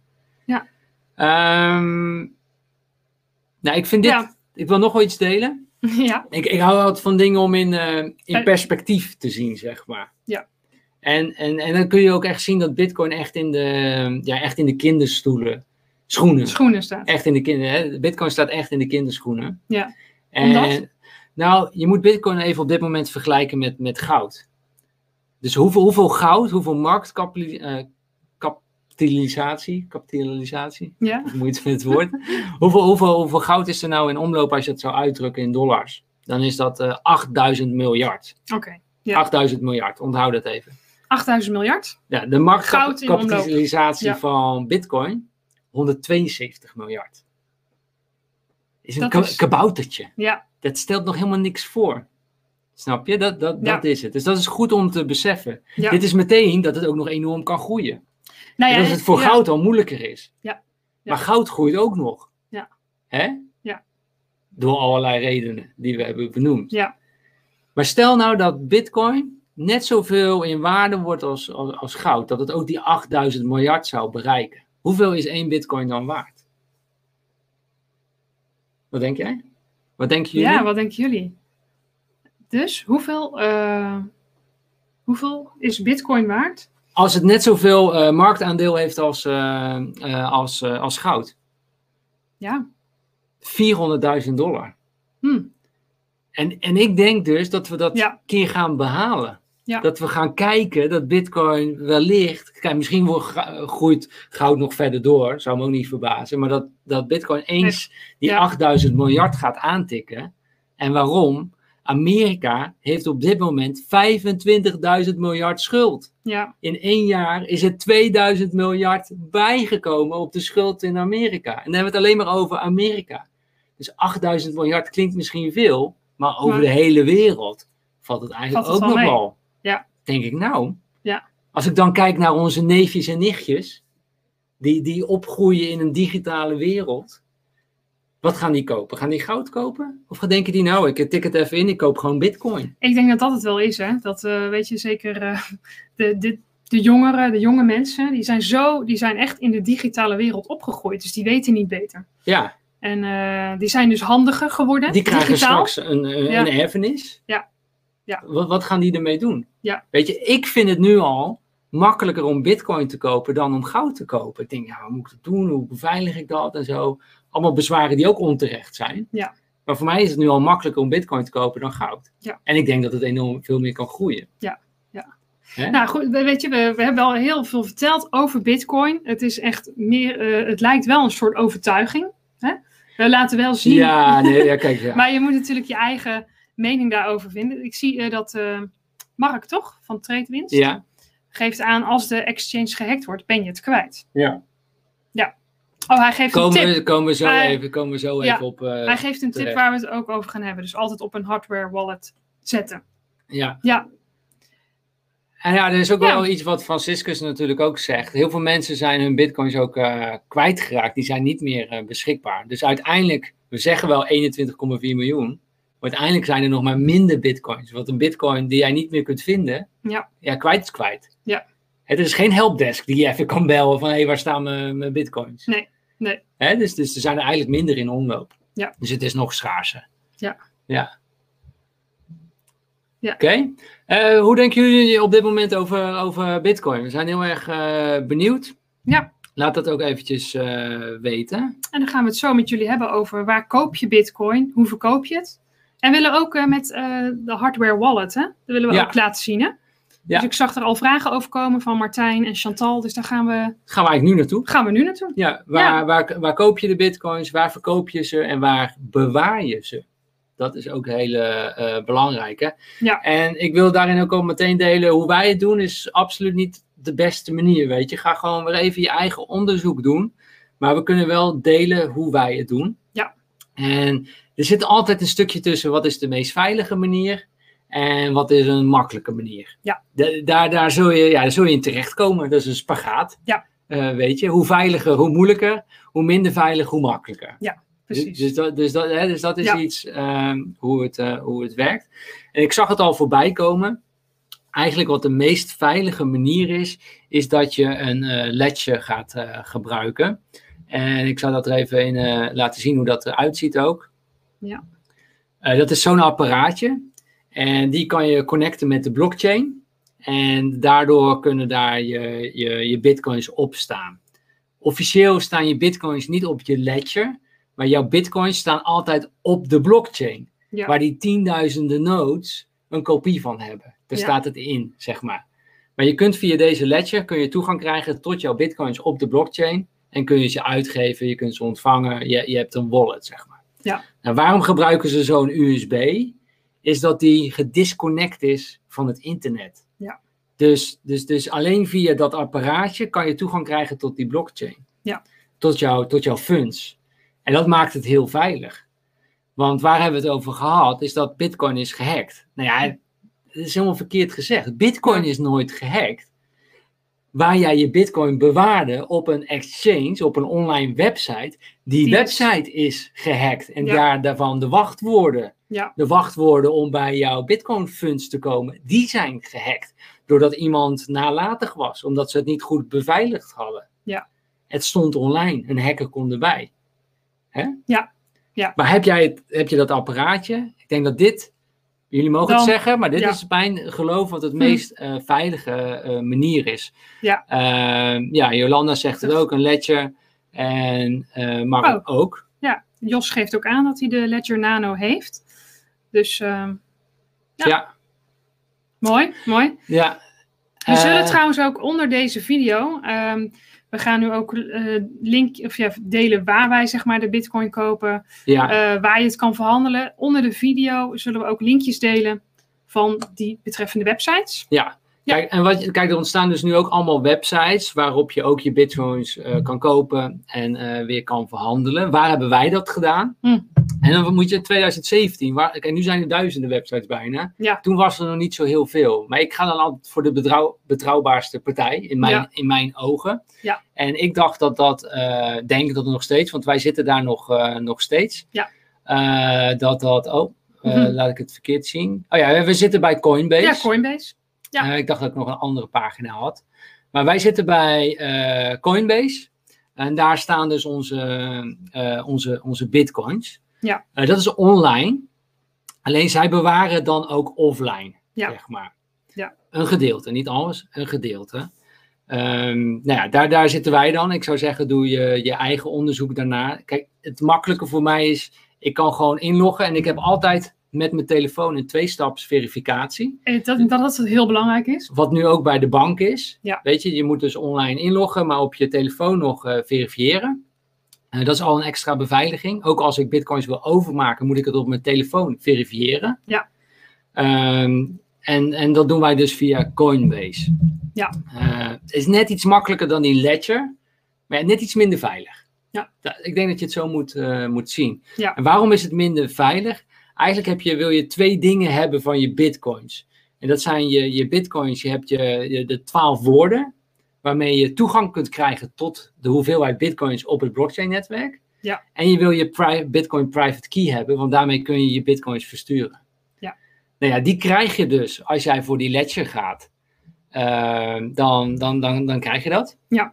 Ja.
Ehm, nou, ik vind dit...
Ja.
Ik wil nog wel iets delen.
Ja,
Ik, ik hou altijd van dingen om in, eh, in
Per-
perspectief te zien, zeg maar.
Ja.
En, en, en dan kun je ook echt zien dat bitcoin echt in de, ja, echt in de kinderstoelen, schoenen,
schoenen staan.
echt in de kinder. Hè? Bitcoin staat echt in de kinderschoenen.
Ja.
En,
Omdat?
Nou, je moet Bitcoin even op dit moment vergelijken met, met goud. Dus hoeveel, hoeveel goud, hoeveel eh, marktkapitalisatie, kapitalisatie,
Ja,
hoe moet je het woord? hoeveel, hoeveel, hoeveel goud is er nou in omloop als je dat zou uitdrukken in dollars? Dan is dat eh, 8000 miljard.
oké. Ja.
8000 miljard, onthoud dat even.
8000 miljard.
Ja, de
Goud in omloop.
marktkapitalisatie
Ja.
van Bitcoin 172 miljard. Is een
Dat
ka-
is-
kaboutertje.
Ja,
Dat stelt nog helemaal niks voor. Snap je? Dat, dat,
Ja.
dat is het. Dus dat is goed om te beseffen.
ja.
Dit is meteen dat het ook nog enorm kan groeien.
nou ja,
dat het voor
ja,
goud al moeilijker is.
Ja. Ja.
Maar goud groeit ook nog.
Ja.
Hè?
Ja.
Door allerlei redenen die we hebben benoemd.
Ja.
Maar stel nou dat bitcoin net zoveel in waarde wordt als, als, als goud. Dat het ook die 8000 miljard zou bereiken. Hoeveel is één bitcoin dan waard? Wat denk jij? Wat denken jullie?
Ja, wat denken jullie? Dus hoeveel, eh, hoeveel is bitcoin waard?
Als het net zoveel eh, marktaandeel heeft als, eh, eh, als, eh, als goud.
Ja.
400.000 dollar.
Hm.
En, en ik denk dus dat we dat
Ja.
keer gaan behalen.
Ja.
Dat we gaan kijken dat bitcoin wellicht, kijk, misschien wordt, gra- groeit goud nog verder door, zou me ook niet verbazen, maar dat, dat bitcoin eens die
Ja.
8000 miljard gaat aantikken. En waarom? Amerika heeft op dit moment 25.000 miljard schuld.
Ja,
In één jaar is er 2000 miljard bijgekomen op de schuld in Amerika. En dan hebben we het alleen maar over Amerika. Dus 8000 miljard klinkt misschien veel, maar over
Maar-
de hele wereld valt het eigenlijk
Valt het
ook
wel
nog
mee.
wel.
Ja.
Denk ik nou.
Ja.
Als ik dan kijk naar onze neefjes en nichtjes, die, die opgroeien in een digitale wereld. Wat gaan die kopen? Gaan die goud kopen? Of denken die nou, ik tik het even in, ik koop gewoon bitcoin.
ik denk dat dat het wel is, hè. Dat eh, weet je zeker, eh, de, de, de jongeren, de jonge mensen, die zijn zo, die zijn echt in de digitale wereld opgegroeid. Dus die weten niet beter.
Ja,
En eh, die zijn dus handiger geworden.
Die krijgen
digitaal.
straks een, een,
Ja.
een erfenis.
Ja. Ja.
Wat, wat gaan die ermee doen?
Ja.
Weet je, ik vind het nu al makkelijker om bitcoin te kopen dan om goud te kopen. Ik denk, ja, hoe moet ik dat doen? Hoe beveilig ik dat? En zo. Allemaal bezwaren die ook onterecht zijn.
Ja.
Maar voor mij is het nu al makkelijker om bitcoin te kopen dan goud.
Ja.
En ik denk dat het enorm veel meer kan groeien.
Nou goed, we- weet je, we, we hebben al heel veel verteld over Bitcoin. Het is echt meer, eh, het lijkt wel een soort overtuiging. Hè? We laten wel zien.
Ja, nee, ja, kijk. Ja.
Maar je moet natuurlijk je eigen mening daarover vinden. Ik zie eh, dat eh, Mark toch van TradeWinst
ja.
geeft aan als de exchange gehackt wordt, ben je het kwijt.
Ja.
Ja. Oh, hij geeft een
Komen,
tip.
we- komen we zo,
Maar-
even, komen we zo
Ja.
even op. eh,
Hij geeft een tip
terecht.
waar we het ook over gaan hebben. Dus altijd op een hardware wallet zetten.
Ja.
Ja.
En ja, er is ook
Ja.
wel iets wat Franciscus natuurlijk ook zegt. Heel veel mensen zijn hun bitcoins ook eh, kwijtgeraakt. Die zijn niet meer eh, beschikbaar. Dus uiteindelijk, we zeggen wel 21,4 miljoen. Maar uiteindelijk zijn er nog maar minder bitcoins. Want een bitcoin die jij niet meer kunt vinden,
Ja.
ja kwijt is kwijt.
Ja.
Het is geen helpdesk die je even kan bellen van hé, hey, waar staan mijn, mijn bitcoins?
Nee, nee.
Hè, dus, dus er zijn er eigenlijk minder in omloop.
Ja.
Dus het is nog schaarser.
Ja.
Ja.
Ja.
Oké. Eh, hoe denken jullie op dit moment over, over Bitcoin? We zijn heel erg eh, benieuwd.
Ja.
Laat dat ook eventjes eh, weten.
En dan gaan we het zo met jullie hebben over waar koop je bitcoin, hoe verkoop je het. En we willen ook eh, met eh, de hardware wallet, hè? dat willen we
Ja.
ook laten zien. Hè? Dus ik zag er al vragen over komen van Martijn en Chantal, dus daar gaan we,
Gaan we eigenlijk nu naartoe?
gaan we nu naartoe.
Ja, waar, Waar, waar koop je de bitcoins? Waar verkoop je ze? En waar bewaar je ze? Dat is ook een hele eh, belangrijke.
Ja.
En ik wil daarin ook al meteen delen hoe wij het doen, is absoluut niet de beste manier. Weet je, ga gewoon weer even je eigen onderzoek doen. Maar we kunnen wel delen hoe wij het doen.
Ja.
En er zit altijd een stukje tussen wat is de meest veilige manier en wat is een makkelijke manier.
Ja.
Da- daar, daar, zul je, ja, daar zul je in terechtkomen. Dat is een spagaat. Eh, weet je, hoe veiliger, hoe moeilijker, hoe minder veilig, hoe makkelijker. Dus,
Precies.
dus, dat, dus, dat, hè, dus dat is
Ja.
iets ehm, hoe, het, eh, hoe het werkt. En ik zag het al voorbij komen. Eigenlijk wat de meest veilige manier is, is dat je een eh ledje gaat eh, gebruiken. En ik zou dat er even in eh, laten zien hoe dat eruit ziet ook.
Ja.
Eh, dat is zo'n apparaatje. En die kan je connecten met de blockchain. En daardoor kunnen daar je, je, je bitcoins op staan. Officieel staan je bitcoins niet op je ledger. Maar jouw bitcoins staan altijd op de blockchain.
Ja.
Waar die tienduizenden nodes een kopie van hebben. Daar
Ja.
staat het in, zeg maar. Maar je kunt via deze ledger kun je toegang krijgen tot jouw bitcoins op de blockchain. En kun je ze uitgeven, je kunt ze ontvangen. Je, je hebt een wallet, zeg maar.
Ja.
Nou, waarom gebruiken ze zo'n USB? Is dat die gedisconnect is van het internet.
Ja.
Dus, dus, dus alleen via dat apparaatje kan je toegang krijgen tot die blockchain.
Ja.
Tot, jouw tot jouw funds. En dat maakt het heel veilig. Want waar hebben we het over gehad? Is dat Bitcoin is gehackt. Nou ja, het is helemaal verkeerd gezegd. Bitcoin is nooit gehackt. Waar jij je Bitcoin bewaarde op een exchange, op een online website, die
Die is-
website is gehackt. En
Ja.
daar, daarvan de wachtwoorden.
Ja.
De wachtwoorden om bij jouw Bitcoin funds te komen, die zijn gehackt. Doordat iemand nalatig was, omdat ze het niet goed beveiligd hadden.
Ja.
Het stond online, een hacker kon erbij. Hè?
Ja, ja.
Maar heb, jij het, heb je dat apparaatje? Ik denk dat dit, jullie mogen het
Dan-
zeggen, maar dit
ja. Hm.
is mijn geloof wat het meest eh, veilige eh, manier is.
Ja.
Eh, ja, Jolanda zegt het ook, een ledger. En eh Mark ook.
Ja, Jos geeft ook aan dat hij de Ledger Nano heeft. Dus ehm,
Ja.
Ja. Mooi, mooi.
Ja.
We zullen
Eh,
trouwens ook onder deze video, ehm, we gaan nu ook eh, link, of ja, delen waar wij zeg maar de bitcoin kopen,
ja.
eh, waar je het kan verhandelen. Onder de video zullen we ook linkjes delen van die betreffende websites. Ja.
Kijk, en wat, kijk, er ontstaan dus nu ook allemaal websites waarop je ook je bitcoins
Mm.
eh, kan kopen en eh, weer kan verhandelen. Waar hebben wij dat gedaan?
Hm.
En dan moet je 2017, waar, en nu zijn er duizenden websites bijna.
Ja.
Toen was er nog niet zo heel veel. Maar ik ga dan altijd voor de bedrouw- betrouwbaarste partij in mijn,
Ja.
in mijn ogen.
Ja.
En ik dacht dat dat, eh, denk ik dat nog steeds, want wij zitten daar nog, eh, nog steeds.
Ja.
Eh, dat dat, oh, eh,
Mhm.
laat ik het verkeerd zien. Oh ja, we zitten bij Coinbase.
Ja, Coinbase. Ja.
Eh, ik dacht dat ik nog een andere pagina had. Maar wij zitten bij eh, Coinbase. En daar staan dus onze, eh, onze, onze bitcoins.
Ja.
Eh, dat is online. Alleen zij bewaren dan ook offline,
Ja.
zeg maar.
Ja.
Een gedeelte, niet alles, een gedeelte. Ehm, nou ja, daar, daar zitten wij dan. Ik zou zeggen, doe je, je eigen onderzoek daarna. Kijk, het makkelijke voor mij is, ik kan gewoon inloggen. En ik heb altijd met mijn telefoon een twee-staps verificatie.
Eh, Dat, dat dat heel belangrijk is.
Wat nu ook bij de bank is.
Ja.
Weet je, je moet dus online inloggen, maar op je telefoon nog eh, verifiëren. Eh, dat is al een extra beveiliging. Ook als ik bitcoins wil overmaken, moet ik het op mijn telefoon verifiëren.
Ja.
Ehm, en, en dat doen wij dus via Coinbase.
Ja.
Eh, het is net iets makkelijker dan die Ledger, maar net iets minder veilig.
Ja.
Da- ik denk dat je het zo moet, eh, moet zien.
Ja.
En waarom is het minder veilig? Eigenlijk heb je, wil je twee dingen hebben van je bitcoins. En dat zijn je, je bitcoins, je hebt je, je- de twaalf woorden waarmee je toegang kunt krijgen tot de hoeveelheid bitcoins op het blockchain netwerk.
Ja.
En je wil je pri- bitcoin private key hebben, want daarmee kun je je bitcoins versturen.
Ja.
Nou ja, die krijg je dus als jij voor die ledger gaat. Ehm, dan, dan, dan, dan krijg je dat.
Ja.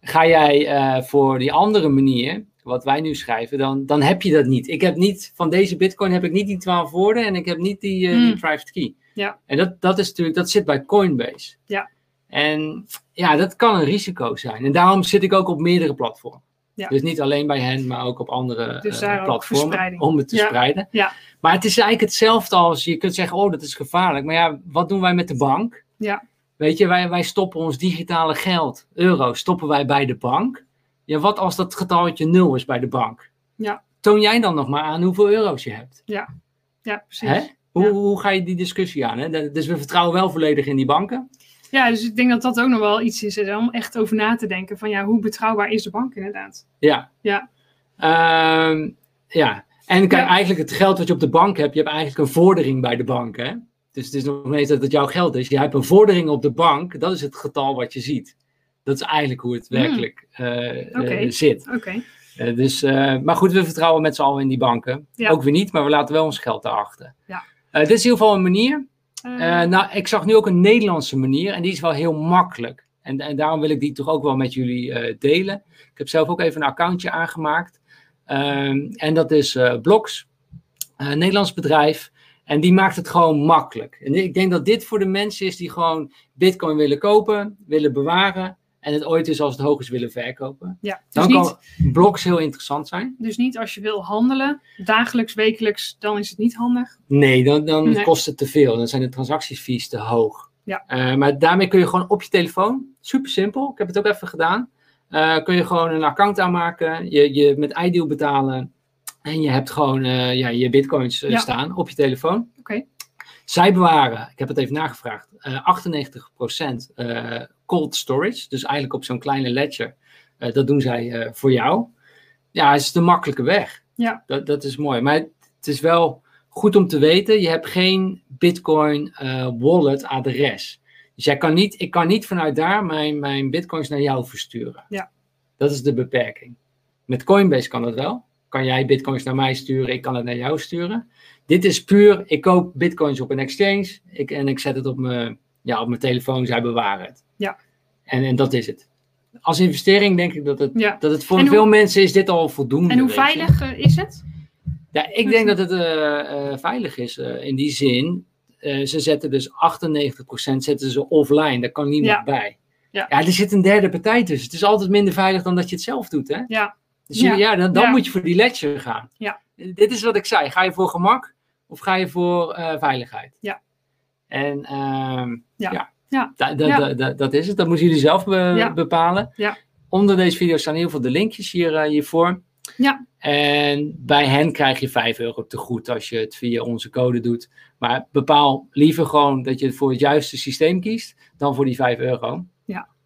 Ga jij eh, voor die andere manier, wat wij nu schrijven, dan, dan heb je dat niet. Ik heb niet, van deze bitcoin heb ik niet die 12 woorden en ik heb niet die, eh, die
Hmm.
private key.
Ja.
En dat, dat is natuurlijk, dat zit bij Coinbase.
Ja.
En ja, dat kan een risico zijn. En daarom zit ik ook op meerdere platformen.
Ja.
Dus niet alleen bij hen, maar ook op andere
Dus
eh,
daar ook
platformen.
verspreiding.
Om het te
Ja.
spreiden.
Ja.
Maar het is eigenlijk hetzelfde als je kunt zeggen: oh, dat is gevaarlijk. Maar ja, wat doen wij met de bank? Weet je, wij, wij stoppen ons digitale geld, euro, stoppen wij bij de bank. Ja, wat als dat getaltje nul is bij de bank?
Ja.
Toon jij dan nog maar aan hoeveel euro's je hebt?
Ja, precies.
Hè? Hoe,
Ja.
hoe ga je die discussie aan? Hè? Da- Dus we vertrouwen wel volledig in die banken.
Ja, dus ik denk dat dat ook nog wel iets is hè, om echt over na te denken van ja, hoe betrouwbaar is de bank inderdaad?
Ja.
Ja.
Ehm, ja. En kijk,
Ja.
eigenlijk het geld wat je op de bank hebt, je hebt eigenlijk een vordering bij de bank. Hè? Dus het is nog niet eens dat het jouw geld is. Je hebt een vordering op de bank, dat is het getal wat je ziet. Dat is eigenlijk hoe het
Hmm.
werkelijk eh, eh,
Oké.
zit.
Oké,
Eh, dus, eh, maar goed, we vertrouwen met z'n allen in die banken.
Ja.
Ook weer niet, maar we laten wel ons geld daarachter.
Ja.
Eh, dit is in ieder geval een manier.
Eh,
Eh, nou, ik zag nu ook een Nederlandse manier en die is wel heel makkelijk. En, en daarom wil ik die toch ook wel met jullie eh, delen. Ik heb zelf ook even een accountje aangemaakt. Ehm, en dat is eh Blox, eh, een Nederlands bedrijf. En die maakt het gewoon makkelijk. En ik denk dat dit voor de mensen is die gewoon Bitcoin willen kopen, willen bewaren. En het ooit eens als het hoog is willen verkopen.
ja. dus,
Dan
niet,
kan blogs heel interessant zijn.
dus niet als je wil handelen, dagelijks, wekelijks, dan is het niet handig.
Nee, dan, dan
Nee.
kost het te veel. Dan zijn de transactiefees te hoog.
Ja.
Eh, maar daarmee kun je gewoon op je telefoon, super simpel, ik heb het ook even gedaan, eh, kun je gewoon een account aanmaken, je, je met iDeal betalen en je hebt gewoon eh, ja, je bitcoins eh,
Ja.
staan op je telefoon.
Oké.
Zij bewaren, ik heb het even nagevraagd, eh 98% eh, cold storage, dus eigenlijk op zo'n kleine ledger. Eh, dat doen zij eh, voor jou. Ja, het is de makkelijke weg.
Ja.
Dat, dat is mooi. Maar het is wel goed om te weten, je hebt geen Bitcoin eh, wallet adres. Dus jij kan niet, ik kan niet vanuit daar mijn, mijn bitcoins naar jou versturen.
Ja.
Dat is de beperking. Met Coinbase kan dat wel. Kan jij bitcoins naar mij sturen, ik kan het naar jou sturen. Dit is puur, ik koop bitcoins op een exchange ik, en ik zet het op mijn, ja, op mijn telefoon, zij bewaren het.
Ja.
En, en dat is het. Als investering denk ik dat het,
Ja.
dat het voor
En hoe-
veel mensen is dit al voldoende.
En hoe
weet je.
veilig eh, is het?
Ja, ik denk dat het eh, eh, veilig is eh, in die zin. eh, ze zetten dus 98% zetten ze offline. Daar kan niemand
Ja.
bij.
Ja.
er zit een derde partij tussen. Het is altijd minder veilig dan dat je het zelf doet. Hè?
Ja,
Dus je- ja.
Ja.
dan, dan
Ja.
moet je voor die ledger gaan.
Ja.
Eh, Dit is wat ik zei. Ga je voor gemak of ga je voor eh, veiligheid?
Ja.
En ehm,
Ja.
ja,
Ja.
Da- da-
Ja.
da- da- dat is het. Dat moeten jullie zelf be-
Ja.
bepalen.
Ja.
Onder deze video staan heel veel de linkjes hier, eh, hiervoor.
Ja.
En bij hen krijg je 5 euro te goed als je het via onze code doet. Maar bepaal liever gewoon dat je voor het juiste systeem kiest dan voor die 5 euro.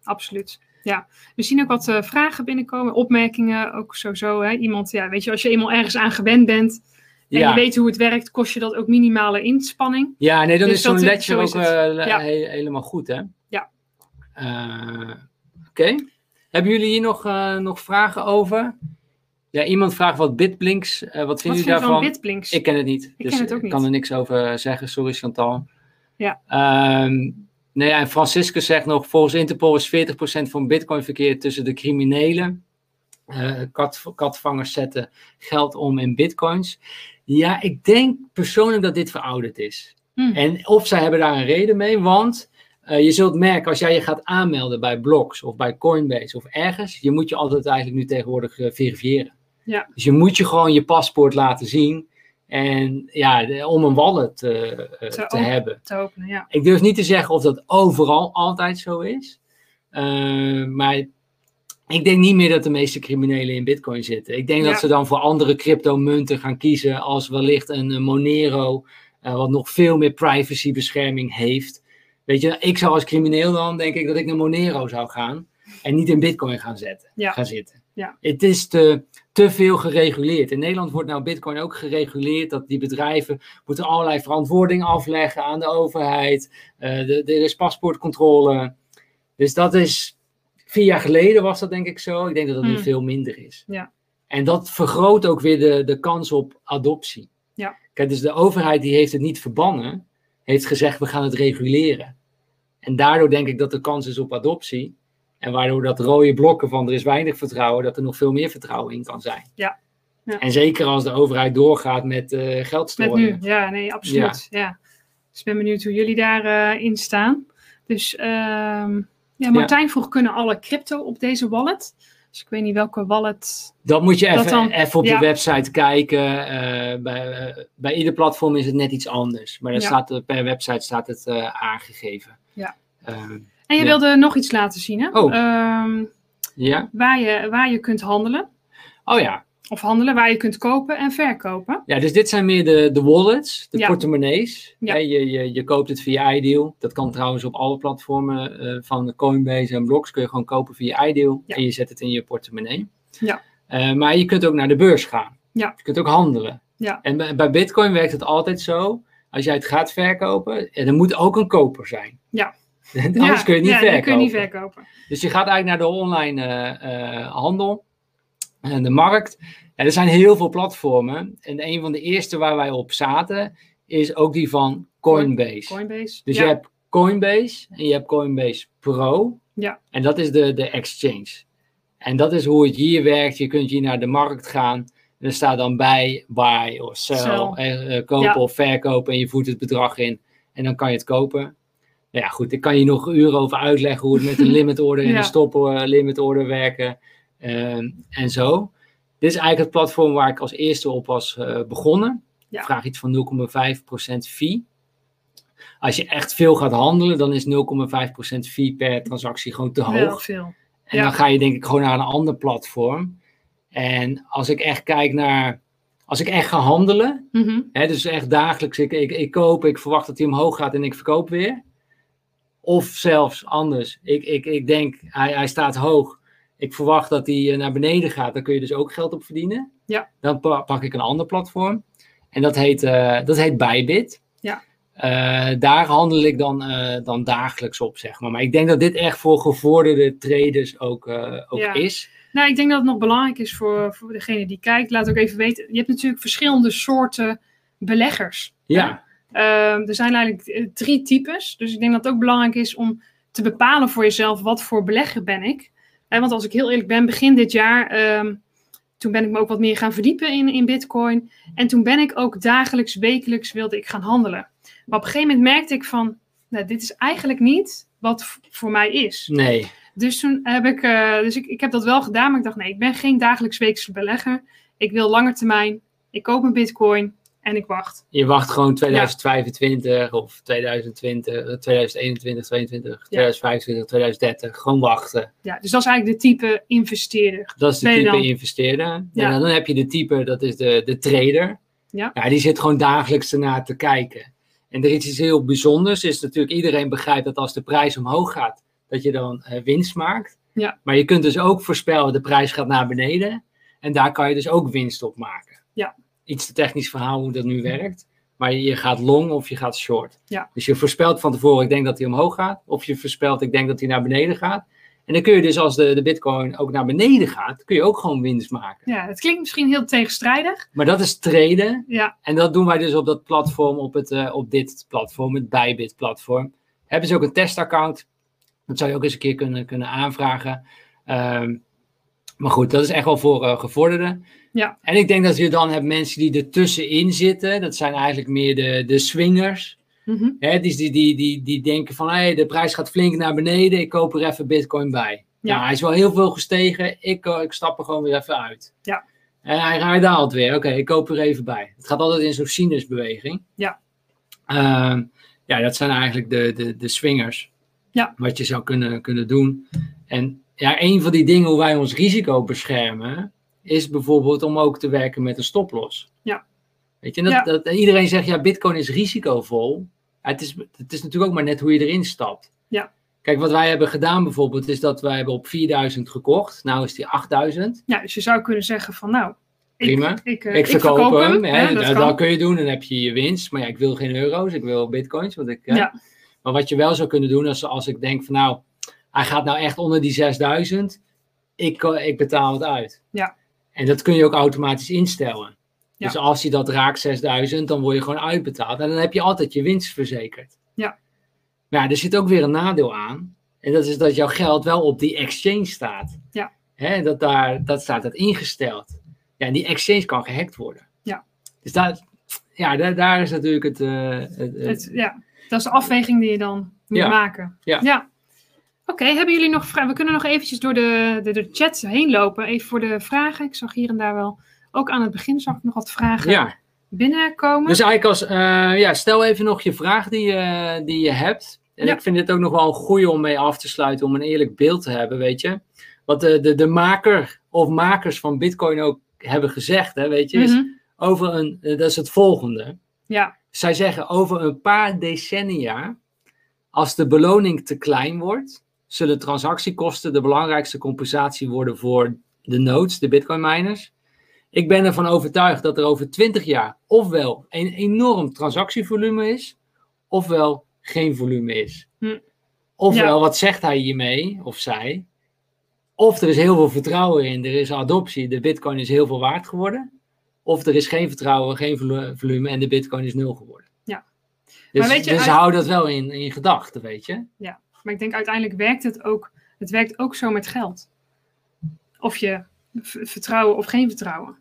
absoluut. Ja, we zien ook wat eh, vragen binnenkomen, opmerkingen, ook sowieso. Hè? Iemand, ja, weet je, als je eenmaal ergens aan gewend bent en
Ja,
je weet hoe het werkt, kost je dat ook minimale inspanning.
ja nee, dan
dus
is zo'n
dat-
ledger
zo
ook
is het.
eh,
Ja.
he- helemaal goed, hè?
Ja.
Eh, Oké. Hebben jullie hier nog, eh, nog vragen over? Ja, iemand vraagt wat Bitblinks, eh, wat
Wat
vinden
vind je
jullie
van
daarvan?
Bitblinks?
Ik ken het niet.
Ik
dus
ken het ook
Ik
niet.
kan er niks over eh, zeggen. Sorry, Chantal.
Ja.
Ehm, nou ja, en Franciscus zegt nog: volgens Interpol is 40% van Bitcoin-verkeer tussen de criminelen. eh, kat, katvangers zetten geld om in bitcoins. Ja, ik denk persoonlijk dat dit verouderd is.
Hmm.
En of zij hebben daar een reden mee, want eh, je zult merken als jij je gaat aanmelden bij Blocks of bij Coinbase of ergens, je moet je altijd eigenlijk nu tegenwoordig eh, verifiëren.
Ja.
Dus je moet je gewoon je paspoort laten zien en ja, de- om een wallet eh, eh,
Zo,
te
ook.
hebben.
te openen, ja.
Ik durf niet te zeggen of dat overal altijd zo is. Eh, maar ik denk niet meer dat de meeste criminelen in bitcoin zitten. Ik denk
Ja.
dat ze dan voor andere cryptomunten gaan kiezen. Als wellicht een eh, Monero. eh, wat nog veel meer privacybescherming heeft. Weet je, ik zou als crimineel dan denk ik dat ik naar Monero zou gaan. En niet in bitcoin gaan, zetten,
Ja.
gaan zitten.
Ja.
Het is te, te veel gereguleerd. In Nederland wordt nou bitcoin ook gereguleerd. Dat die bedrijven moeten allerlei verantwoording afleggen aan de overheid. Eh, de- er is paspoortcontrole. Dus dat is. Vier jaar geleden was dat denk ik zo. Ik denk dat dat nu
Mm.
veel minder is.
Ja.
En dat vergroot ook weer de, de kans op adoptie.
Ja.
Kijk, dus de overheid die heeft het niet verbannen, heeft gezegd we gaan het reguleren. En daardoor denk ik dat de kans is op adoptie. En waardoor dat rode blokken van er is weinig vertrouwen, dat er nog veel meer vertrouwen in kan zijn.
Ja. Ja.
En zeker als de overheid doorgaat met eh geld
Met
strooien.
nu, ja, nee, absoluut. Ja. Dus ik ben benieuwd hoe jullie daarin in staan. Dus ehm, ja, Martijn vroeg, kunnen alle crypto op deze wallet? Dus ik weet niet welke wallet.
Dat moet je
Dat
even,
dan,
even op
ja.
de website kijken. Eh, bij, eh, bij ieder platform is het net iets anders. Maar daar
Ja.
staat, eh, per website staat het eh, aangegeven.
Ja.
Eh,
En je
Ja.
wilde nog iets laten zien, hè?
Oh.
Ehm,
ja?
waar, je, waar je kunt handelen.
Oh ja.
Of handelen, waar je kunt kopen en verkopen.
ja. Dus dit zijn meer de, de wallets, de
Ja.
portemonnees.
Ja.
Hè, je, je, je koopt het via iDeal. Dat kan trouwens op alle platformen eh, van Coinbase en Blocks. Kun je gewoon kopen via iDeal.
Ja.
En je zet het in je portemonnee.
Ja.
Eh, maar je kunt ook naar de beurs gaan.
Ja.
Je kunt ook handelen.
Ja.
En bij, bij Bitcoin werkt het altijd zo. Als jij het gaat verkopen, eh, er moet ook een koper zijn.
Ja.
Anders
Ja,
kun je het niet
ja, dan
verkopen.
kun je niet verkopen.
Dus je gaat eigenlijk naar de online eh, eh, handel en de markt. En er zijn heel veel platformen. En een van de eerste waar wij op zaten is ook die van Coinbase.
Coinbase.
Dus
ja.
je hebt Coinbase en je hebt Coinbase Pro.
Ja.
En dat is de, de exchange. En dat is hoe het hier werkt. Je kunt hier naar de markt gaan. En er staat dan bij, buy of sell.
Sell.
eh, eh, kopen
Ja.
of verkopen. En je voert het bedrag in. En dan kan je het kopen. Nou ja, goed. Ik kan je nog uren over uitleggen hoe het met een limit order en
Ja.
een stop eh, limit order werken. ehm, en zo. Dit is eigenlijk het platform waar ik als eerste op was eh, begonnen.
Ja.
Vraag iets van 0,5% fee. Als je echt veel gaat handelen, dan is 0,5% fee per transactie gewoon te
Wel
hoog.
veel.
En
ja.
dan ga je denk ik gewoon naar een ander platform. En als ik echt kijk naar, als ik echt ga handelen,
Mhm.
hè, dus echt dagelijks, ik, ik, ik koop, ik verwacht dat hij omhoog gaat en ik verkoop weer. Of zelfs anders, ik, ik, ik denk, hij, hij staat hoog, ik verwacht dat hij eh, naar beneden gaat, daar kun je dus ook geld op verdienen.
Ja.
Dan pa- pak ik een ander platform. En dat heet, eh, dat heet Bybit.
Ja.
Eh, daar handel ik dan, eh, dan dagelijks op, zeg maar. Maar ik denk dat dit echt voor gevorderde traders ook, eh, ook
Ja.
is.
Nou, ik denk dat het nog belangrijk is voor, voor degene die kijkt. Laat ook even weten. Je hebt natuurlijk verschillende soorten beleggers.
Ja,
Ehm, er zijn eigenlijk eh, drie types. Dus ik denk dat het ook belangrijk is om te bepalen voor jezelf wat voor belegger ben ik. Eh, want als ik heel eerlijk ben, begin dit jaar, ehm, toen ben ik me ook wat meer gaan verdiepen in, in bitcoin. En toen ben ik ook dagelijks, wekelijks wilde ik gaan handelen. Maar op een gegeven moment merkte ik van, nou, dit is eigenlijk niet wat v- voor mij is.
nee.
Dus toen heb ik, eh, dus ik, ik heb dat wel gedaan, maar ik dacht nee, ik ben geen dagelijks weekse belegger. Ik wil langer termijn. Ik koop een bitcoin en en ik wacht.
Je wacht gewoon 2025 of 2020, 2021, 2022, 2025, 2030. Gewoon wachten.
Ja, dus dat is eigenlijk de type investeerder.
Dat is de
Ben je
type
dan?
investeerder. En
Ja.
dan heb je de type, dat is de, de trader.
Ja.
die zit gewoon dagelijks ernaar te kijken. En er is iets heel bijzonders. Is natuurlijk iedereen begrijpt dat als de prijs omhoog gaat, dat je dan eh, winst maakt.
Ja.
Maar je kunt dus ook voorspellen, de prijs gaat naar beneden. En daar kan je dus ook winst op maken.
Ja.
Iets te technisch verhaal hoe dat nu werkt. Maar je gaat long of je gaat short.
Ja.
Dus je voorspelt van tevoren, ik denk dat hij omhoog gaat. Of je voorspelt, ik denk dat hij naar beneden gaat. En dan kun je dus als de, de bitcoin ook naar beneden gaat, kun je ook gewoon winst maken.
Ja, het klinkt misschien heel tegenstrijdig.
Maar dat is traden.
Ja.
En dat doen wij dus op dat platform, op, het, eh, op dit platform, het Bybit platform. Hebben ze ook een testaccount. Dat zou je ook eens een keer kunnen, kunnen aanvragen. Ehm, maar goed, dat is echt wel voor eh, gevorderden.
Ja.
En ik denk dat je dan hebt mensen die ertussenin zitten. Dat zijn eigenlijk meer de, de swingers.
Mhm.
Hè, dus die, die, die, die, die denken van, hey, de prijs gaat flink naar beneden, ik koop er even bitcoin bij.
Ja.
Nou, hij is wel heel veel gestegen, ik, eh, ik stap er gewoon weer even uit.
Ja.
En hij, hij daalt weer, oké, ik koop er even bij. Het gaat altijd in zo'n sinusbeweging.
Ja.
Ehm, ja, dat zijn eigenlijk de, de, de swingers.
Ja.
Wat je zou kunnen, kunnen doen. En ja, een van die dingen hoe wij ons risico beschermen, is bijvoorbeeld om ook te werken met een stoploss.
Ja.
Weet je, en dat,
Ja.
dat, en iedereen zegt, ja, bitcoin is risicovol. Ja, het, is, het is natuurlijk ook maar net hoe je erin stapt.
Ja.
Kijk, wat wij hebben gedaan bijvoorbeeld, is dat wij hebben op 4000 gekocht. Nou is die 8000.
Ja, dus je zou kunnen zeggen van nou, ik,
Prima.
ik, eh,
ik, verkoop, hem. hè, Nou,
hè, dat
dat,
kan.
kun je doen, dan heb je je winst. Maar ja, ik wil geen euro's, ik wil bitcoins. Want ik, hè.
Ja.
Maar wat je wel zou kunnen doen, als, als ik denk van nou, hij gaat nou echt onder die 6000. Ik, eh, ik betaal het uit.
Ja.
En dat kun je ook automatisch instellen.
Ja.
Dus als hij dat raakt, 6000, dan word je gewoon uitbetaald. En dan heb je altijd je winst verzekerd.
Ja.
Maar ja, er zit ook weer een nadeel aan. En dat is dat jouw geld wel op die exchange staat.
Ja.
Hè, dat, daar, dat staat dat ingesteld. Ja, en die exchange kan gehackt worden.
Ja.
Dus daar, ja, daar, daar is natuurlijk het, eh, het- het-
Het- ja, dat is de afweging die je dan moet
Ja.
maken.
Ja.
Oké, hebben jullie nog vragen? We kunnen nog eventjes door de, de, de chat heen lopen. Even voor de vragen. Ik zag hier en daar wel, ook aan het begin zag ik nog wat vragen
ja.
binnenkomen.
Dus eigenlijk als, eh, ja, stel even nog je vraag die, je- die je hebt. En
Ja.
ik vind dit ook nog wel een goeie om mee af te sluiten, om een eerlijk beeld te hebben, weet je. Wat de, de, de maker of makers van bitcoin ook hebben gezegd, hè, weet je, is
Mhm.
over een, eh, dat is het volgende.
Ja,
Zij zeggen over een paar decennia, als de beloning te klein wordt, zullen transactiekosten de belangrijkste compensatie worden voor de nodes, de bitcoin miners. Ik ben ervan overtuigd dat er over 20 jaar ofwel een enorm transactievolume is, ofwel geen volume is.
Hm.
Ofwel,
Ja.
wat zegt hij hiermee of zij? Of er is heel veel vertrouwen in, er is adoptie, de bitcoin is heel veel waard geworden. Of er is geen vertrouwen, geen volu- volume en de bitcoin is nul geworden.
Ja.
Dus,
weet je,
dus
uit-
hou dat wel in, in gedachten, weet je.
maar ik denk uiteindelijk werkt het ook. Het werkt ook zo met geld. Of je v- vertrouwen of geen vertrouwen.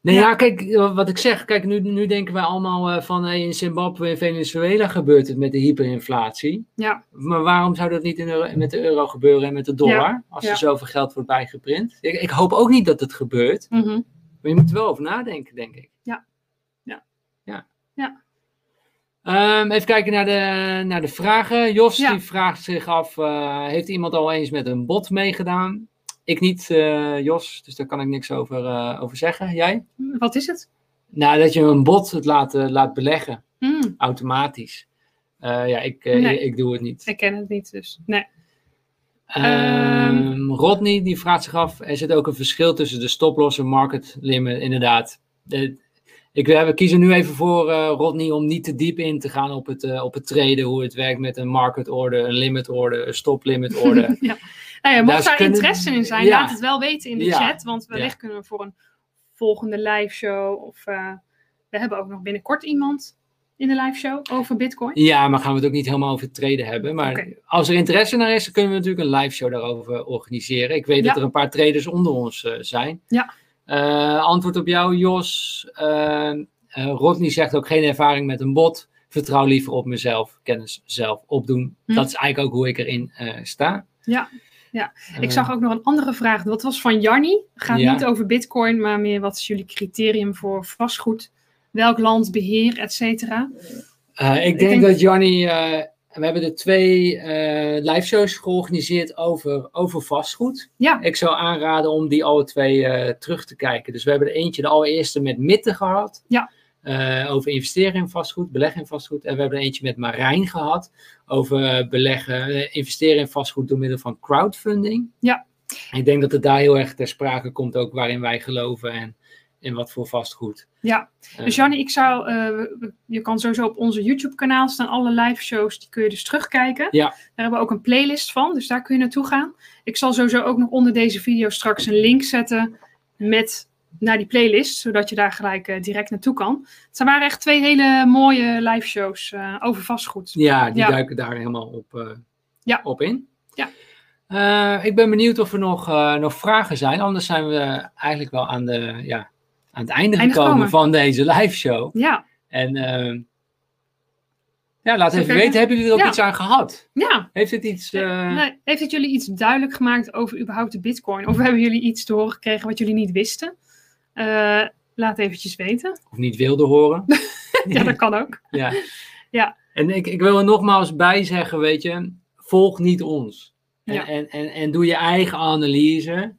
Nee,
Ja.
ja, kijk, eh, wat ik zeg. Kijk, nu, nu denken wij allemaal eh, van hey, in Zimbabwe en Venezuela gebeurt het met de hyperinflatie.
Ja,
Maar waarom zou dat niet in euro- met de euro gebeuren en met de dollar? als
ja.
er zoveel geld wordt bijgeprint. Ik, ik hoop ook niet dat het gebeurt.
mhm.
Maar je moet er wel over nadenken, denk ik.
Ja. Ja.
Ja.
Ja.
Ehm, even kijken naar de, naar de vragen. Jos
Ja.
die vraagt zich af: eh, heeft iemand al eens met een bot meegedaan? Ik niet, eh, Jos, dus daar kan ik niks over, eh, over zeggen. Jij?
wat is het?
Nou, dat je een bot het laat, eh, laat beleggen,
Mm,
automatisch. Eh, ja, ik, eh,
Nee.
ik doe het niet.
ik ken het niet, dus nee.
Ehm, Rodney, die vraagt zich af, er zit ook een verschil tussen de stoploss en market limit, inderdaad. De- ik, eh, we kies er nu even voor, eh, Rodney, om niet te diep in te gaan op het, eh, op het traden, hoe het werkt met een market order, een limit order, een stop limit order.
Nou ja,
Daar
mocht daar
kunnen-
interesse in zijn,
Ja.
laat het wel weten in de
Ja.
chat. Want wellicht
Ja.
kunnen we voor een volgende live show. Of eh, we hebben ook nog binnenkort iemand in de live show over Bitcoin.
Ja, maar gaan we het ook niet helemaal over het traden hebben. Maar
Oké.
als er interesse naar is, dan kunnen we natuurlijk een live show daarover organiseren. Ik weet dat
Ja.
er een paar traders onder ons eh, zijn.
Ja.
Eh, antwoord op jou, Jos. Eh, eh, Rodney zegt ook geen ervaring met een bot. Vertrouw liever op mezelf, kennis zelf opdoen.
Hm.
Dat is eigenlijk ook hoe ik erin eh, sta.
Ja, ja.
Eh,
Ik zag ook nog een andere vraag. Dat was van Janni. Gaat
Ja.
niet over Bitcoin, maar meer wat is jullie criterium voor vastgoed? welk land beheer, et cetera.
Eh, ik, denk
denk-
dat Johnny. eh, we hebben er twee eh live shows georganiseerd over, over vastgoed.
Ja.
Ik zou aanraden om die alle twee eh, terug te kijken. Dus we hebben er eentje, de allereerste met Mitte gehad.
Ja.
eh, over investeren in vastgoed, beleggen in vastgoed. En we hebben er eentje met Marijn gehad. Over beleggen, eh, investeren in vastgoed door middel van crowdfunding.
Ja.
Ik denk dat het daar heel erg ter sprake komt ook waarin wij geloven en, en wat voor vastgoed.
Ja,
Eh,
Dus Jannie, ik zou, eh, we- we- je kan sowieso op onze YouTube-kanaal staan alle live shows, die kun je dus terugkijken.
Ja.
Daar hebben we ook een playlist van, dus daar kun je naartoe gaan. Ik zal sowieso ook nog onder deze video straks een link zetten met naar die playlist, zodat je daar gelijk eh, direct naartoe kan. Het waren echt twee hele mooie live shows eh, over vastgoed.
Ja, die
Ja.
duiken daar helemaal op, eh,
Ja.
op in.
Ja.
Eh, ik ben benieuwd of er nog, eh, nog vragen zijn. Anders zijn we eigenlijk wel aan, de, ja, aan het
Einde
einde gekomen
gekomen.
van deze live show.
Ja,
En eh, ja, laat
Zo
even
kijken.
weten, hebben jullie er ook
Ja.
iets aan gehad?
ja.
Heeft het iets... eh,
Nee, heeft het jullie iets duidelijk gemaakt over überhaupt de bitcoin? Of hebben jullie iets te horen gekregen wat jullie niet wisten? Eh, laat eventjes weten.
Of niet wilde horen?
Ja, dat kan ook.
Ja.
Ja.
En ik, ik wil er nogmaals bij zeggen, weet je, volg niet ons. En,
Ja.
en, en, en doe je eigen analyse.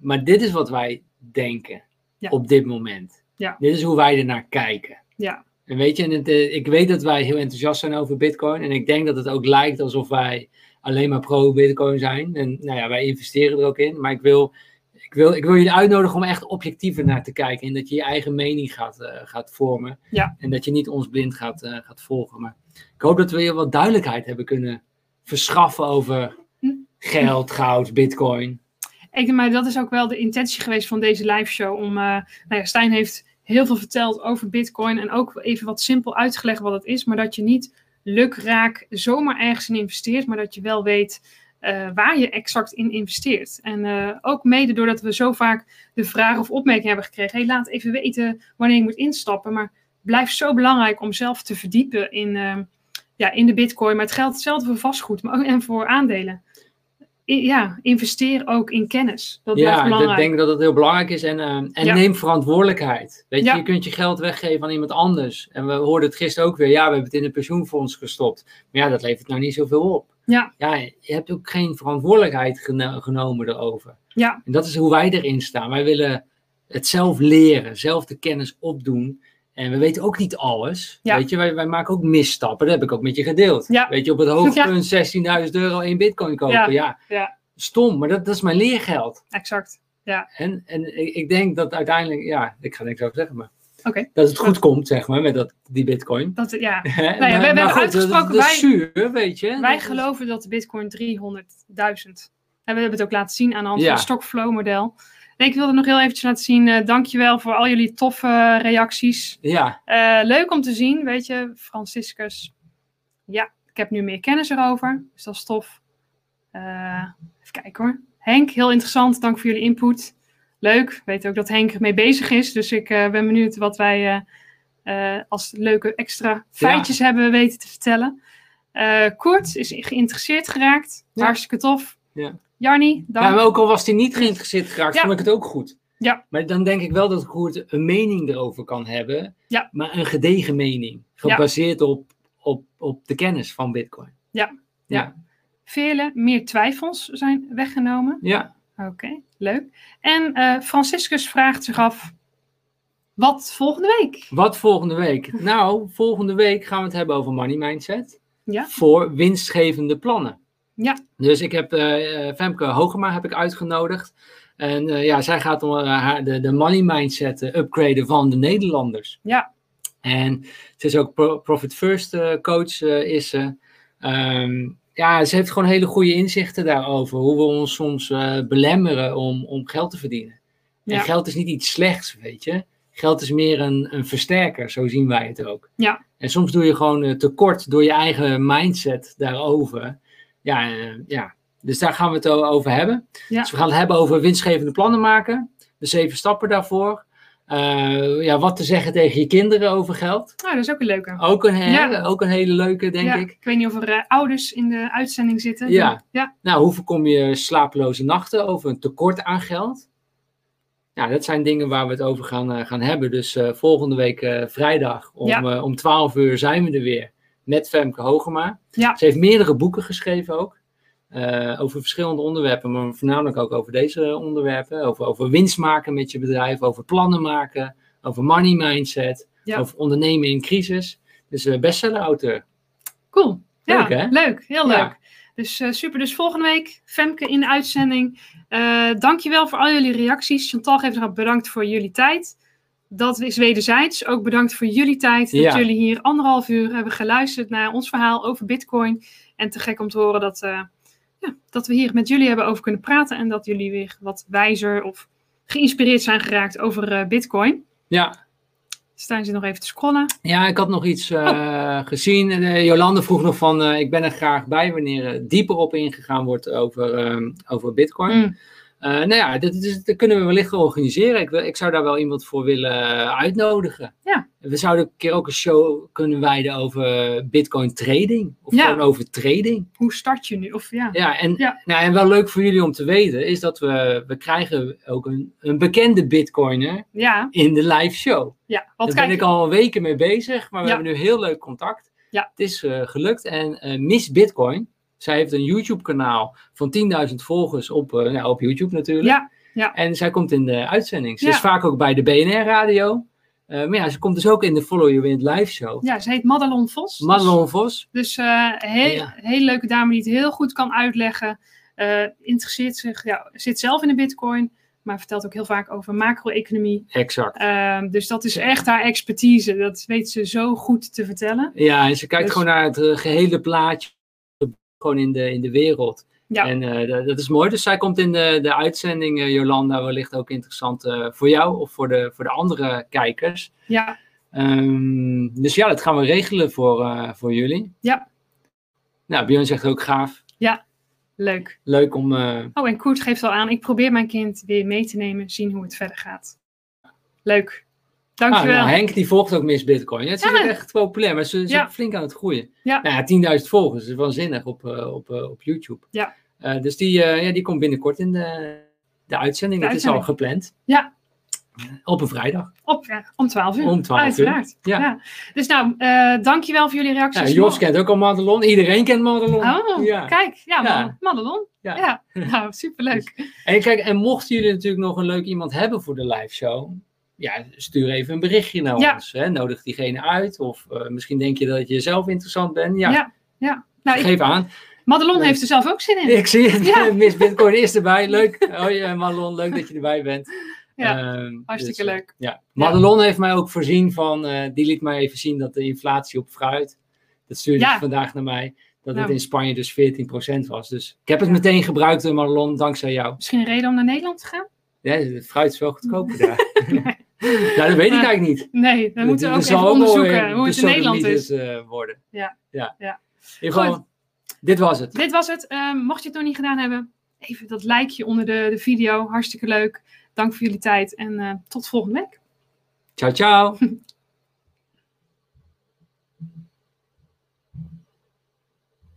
Maar dit is wat wij denken
Ja.
op dit moment.
Ja.
Dit is hoe wij ernaar kijken.
Ja.
En weet je, en het, eh, ik weet dat wij heel enthousiast zijn over Bitcoin. En ik denk dat het ook lijkt alsof wij alleen maar pro-Bitcoin zijn. En nou ja, wij investeren er ook in. Maar ik wil, ik wil, ik wil jullie uitnodigen om echt objectiever naar te kijken. En dat je je eigen mening gaat, eh, gaat vormen. En dat je niet ons blind gaat, eh, gaat volgen. Maar ik hoop dat we je wat duidelijkheid hebben kunnen verschaffen over
Hm.
geld, goud, bitcoin.
Ik denk, maar dat is ook wel de intentie geweest van deze live show. Om, eh, nou ja, Stijn heeft heel veel verteld over Bitcoin en ook even wat simpel uitgelegd wat het is, maar dat je niet lukraak zomaar ergens in investeert, maar dat je wel weet eh, waar je exact in investeert. En eh, ook mede doordat we zo vaak de vraag of opmerking hebben gekregen: hey, laat even weten wanneer je moet instappen. Maar het blijft zo belangrijk om zelf te verdiepen in, eh, ja, in de Bitcoin. Maar het geldt hetzelfde voor vastgoed maar ook, en voor aandelen. I- ja, investeer ook in kennis. Dat blijft
ja, ik
belangrijk.
denk dat het heel belangrijk is. En, eh, en
Ja.
neem verantwoordelijkheid. Weet je,
Ja.
je kunt je geld weggeven aan iemand anders. En we hoorden het gisteren ook weer. Ja, we hebben het in een pensioenfonds gestopt. Maar ja, dat levert nou niet zoveel op.
Ja.
ja je hebt ook geen verantwoordelijkheid geno- genomen erover.
Ja,
En dat is hoe wij erin staan. Wij willen het zelf leren, zelf de kennis opdoen. En we weten ook niet alles.
Ja.
Weet je, wij, wij maken ook misstappen. Dat heb ik ook met je gedeeld.
Ja.
Weet je, op het hoogtepunt 16.000 euro in bitcoin kopen. Ja.
Ja,
Ja.
ja.
Stom, maar dat, dat is mijn leergeld.
exact.
En, en ik, ik denk dat uiteindelijk, ja, ik ga niks over zeggen, maar
Oké.
dat het goed komt, zeg maar, met dat, die bitcoin.
Dat, ja.
Nou ja,
we hebben uitgesproken,
dat, dat is
wij-
zuur, weet je. Dat
Wij
is-
geloven dat de bitcoin 300.000. En we hebben het ook laten zien aan de hand
Ja.
van het stokflow model. En ik wilde nog heel eventjes laten zien. eh, dankjewel voor al jullie toffe eh, reacties.
Ja,
Eh, leuk om te zien, weet je, Franciscus. Ja, ik heb nu meer kennis erover. Dus dat is tof. Eh, even kijken hoor. Henk, heel interessant. Dank voor jullie input. Leuk. Ik weet ook dat Henk ermee bezig is. Dus ik eh, ben benieuwd wat wij eh, eh, als leuke extra feitjes hebben weten te vertellen. Eh Koert is geïnteresseerd geraakt.
Ja.
Hartstikke tof.
Ja.
Jarni, dank.
Ja, maar ook al was hij niet geïnteresseerd geraakt,
Ja.
vond ik het ook goed.
Ja.
Maar dan denk ik wel dat Koert een mening erover kan hebben.
Ja.
Maar een gedegen mening. Gebaseerd op, op, op de kennis van Bitcoin.
Ja.
Ja.
Vele meer twijfels zijn weggenomen.
Ja.
Oké, leuk. En eh, Franciscus vraagt zich af, wat volgende week?
Wat volgende week? Nou, volgende week gaan we het hebben over money mindset.
Ja.
Voor winstgevende plannen.
Ja.
Dus ik heb eh, eh, Femke Hogema heb ik uitgenodigd. En eh, ja, zij gaat om, eh, haar, de, de money mindset eh, upgraden van de Nederlanders.
Ja.
En ze is ook pro- Profit First eh, coach, eh, is ze. Ehm, ja, ze heeft gewoon hele goede inzichten daarover. Hoe we ons soms eh, belemmeren om, om geld te verdienen. En
Ja.
geld is niet iets slechts, weet je. Geld is meer een, een versterker, zo zien wij het ook.
Ja.
En soms doe je gewoon eh, tekort door je eigen mindset daarover. Ja, eh, ja. Dus daar gaan we het o- over hebben.
Ja.
Dus we gaan het hebben over winstgevende plannen maken. De zeven stappen daarvoor. Eh, ja, wat te zeggen tegen je kinderen over geld.
Nou, dat is ook een leuke.
Ook een, he-
Ja.
ook een hele leuke, Oh, denk
Ja,
ik.
weet niet of er eh, ouders in de uitzending zitten.
Ja.
Ja,
Nou, hoe voorkom je slapeloze nachten over een tekort aan geld? Ja, dat zijn dingen waar we het over gaan, eh, gaan hebben. Dus eh, volgende week eh, vrijdag om,
Ja.
eh, om 12 uur zijn we er weer met Femke Hogema.
Ja.
Ze heeft meerdere boeken geschreven ook. eh, over verschillende onderwerpen, maar voornamelijk ook over deze onderwerpen. Over, over winst maken met je bedrijf, over plannen maken, over money mindset,
Ja.
over ondernemen in crisis. Dus eh bestseller-auteur.
Cool. Ja,
Leuk, hè?
leuk. Heel
Ja.
leuk. Dus eh, super. Dus volgende week Femke in de uitzending. Eh dankjewel voor al jullie reacties. Chantal geeft nog bedankt voor jullie tijd. Dat is wederzijds. Ook bedankt voor jullie tijd. Dat
Ja.
jullie hier anderhalf uur hebben geluisterd naar ons verhaal over Bitcoin. En te gek om te horen dat, eh, ja, dat we hier met jullie hebben over kunnen praten. En dat jullie weer wat wijzer of geïnspireerd zijn geraakt over eh, Bitcoin.
Ja,
Stijn zit nog even te scrollen.
Ja, ik had nog iets eh, gezien. Eh, Jolande vroeg nog van, eh, ik ben er graag bij wanneer er dieper op ingegaan wordt over, ehm, over bitcoin.
Mm.
Eh, nou ja, dat, is- dat kunnen we wellicht wel organiseren. Ik, wil- ik zou daar wel iemand voor willen eh, uitnodigen.
Ja.
We zouden een keer ook een show kunnen wijden over bitcoin trading. Of
Ja.
gewoon over trading.
Hoe start je nu? Of ja.
Ja, en,
Ja.
Nou, en wel leuk voor jullie om te weten is dat we, we krijgen ook een, een bekende bitcoiner
Ja,
in de live show.
ja. Wat
Daar
kijk
ben
je?
ik al weken mee bezig, maar we
Ja.
hebben nu heel leuk contact.
Ja.
Het is eh, gelukt. En eh, Miss Bitcoin, zij heeft een YouTube-kanaal van 10.000 volgers op, eh, nou, op YouTube natuurlijk.
Ja,
En zij komt in de uitzending. Ze
Ja.
is vaak ook bij de BNR-radio. maar ja, ze komt dus ook in de Follow You In live show.
Ja, ze heet Madelon Vos.
Madelon Vos.
Dus, dus eh, heel,
Ja.
heel leuke dame die het heel goed kan uitleggen. Eh, interesseert zich, ja, zit zelf in de bitcoin, maar vertelt ook heel vaak over macro-economie.
Exact.
Eh, dus dat is echt haar expertise. Dat weet ze zo goed te vertellen.
Ja, en ze kijkt
Dus-
gewoon naar het eh, gehele plaatje. Gewoon in de, in de wereld.
Ja.
En eh, dat, dat is mooi. Dus zij komt in de, de uitzending, eh, Jolanda, wellicht ook interessant eh, voor jou of voor de, voor de andere kijkers.
Ja,
Ehm, dus ja, dat gaan we regelen voor, eh, voor jullie.
Ja.
Nou, Björn zegt ook gaaf.
leuk.
Leuk om. eh,
Oh, en Koert geeft al aan. Ik probeer mijn kind weer mee te nemen, zien hoe het verder gaat. Leuk.
ah,
Dankjewel.
nou, Henk die volgt ook Miss Bitcoin. Ja, het is
Ja.
ook echt populair, maar ze is
Ja.
ook flink aan het groeien.
Ja.
Nou ja, 10.000 volgers, dat is waanzinnig op, eh, op, eh, op YouTube.
Ja.
Eh, dus die, eh, ja, die komt binnenkort in de, de uitzending.
De
dat
uitzending.
is al gepland.
Ja.
Op een vrijdag.
Op, ja, om 12 uur.
Om 12 uur.
Uiteraard.
Ja.
Dus nou, eh dankjewel voor jullie
Ja,
reacties.
Jos kent ook al Madelon. Iedereen kent Madelon.
Oh,
ja.
kijk. Ja,
Ja.
Mad- Madelon. Ja.
Ja.
nou, superleuk.
En kijk, en mochten jullie natuurlijk nog een leuk iemand hebben voor de live show, ja, stuur even een berichtje naar
Ja.
ons. Hè? Nodig diegene uit. Of eh, misschien denk je dat je zelf interessant bent. Ja,
Ja, Nou, ik,
geef aan.
Madelon
Nee.
heeft er zelf ook zin in.
Ik zie het.
Ja.
Miss Bitcoin is erbij. Leuk. Hoi eh, Madelon, leuk dat je erbij bent.
Ja,
Ehm,
Hartstikke
dus, eh,
leuk.
Ja. Madelon heeft mij ook voorzien van, eh, die liet mij even zien dat de inflatie op fruit, dat stuurde
Ja.
ze vandaag naar mij, dat
Nou.
het in Spanje dus 14% was. Dus ik heb het
Ja.
meteen gebruikt, eh, Madelon, dankzij jou.
Misschien een reden om naar Nederland te gaan?
Ja, het fruit is wel goedkoper daar. Nou, dat weet ik
Maar-
eigenlijk niet.
Nee, dan moeten we ook
Dat zal
even
wel
onderzoeken
weer
hoe
de
het in Nederland is.
sodomietes, eh, worden.
Ja.
ja.
Ja.
In ieder geval, dit was het.
Dit was het. Eh, mocht je het nog niet gedaan hebben, even dat likeje onder de, de video. Hartstikke leuk. Dank voor jullie tijd en eh, tot volgende week.
Ciao, ciao.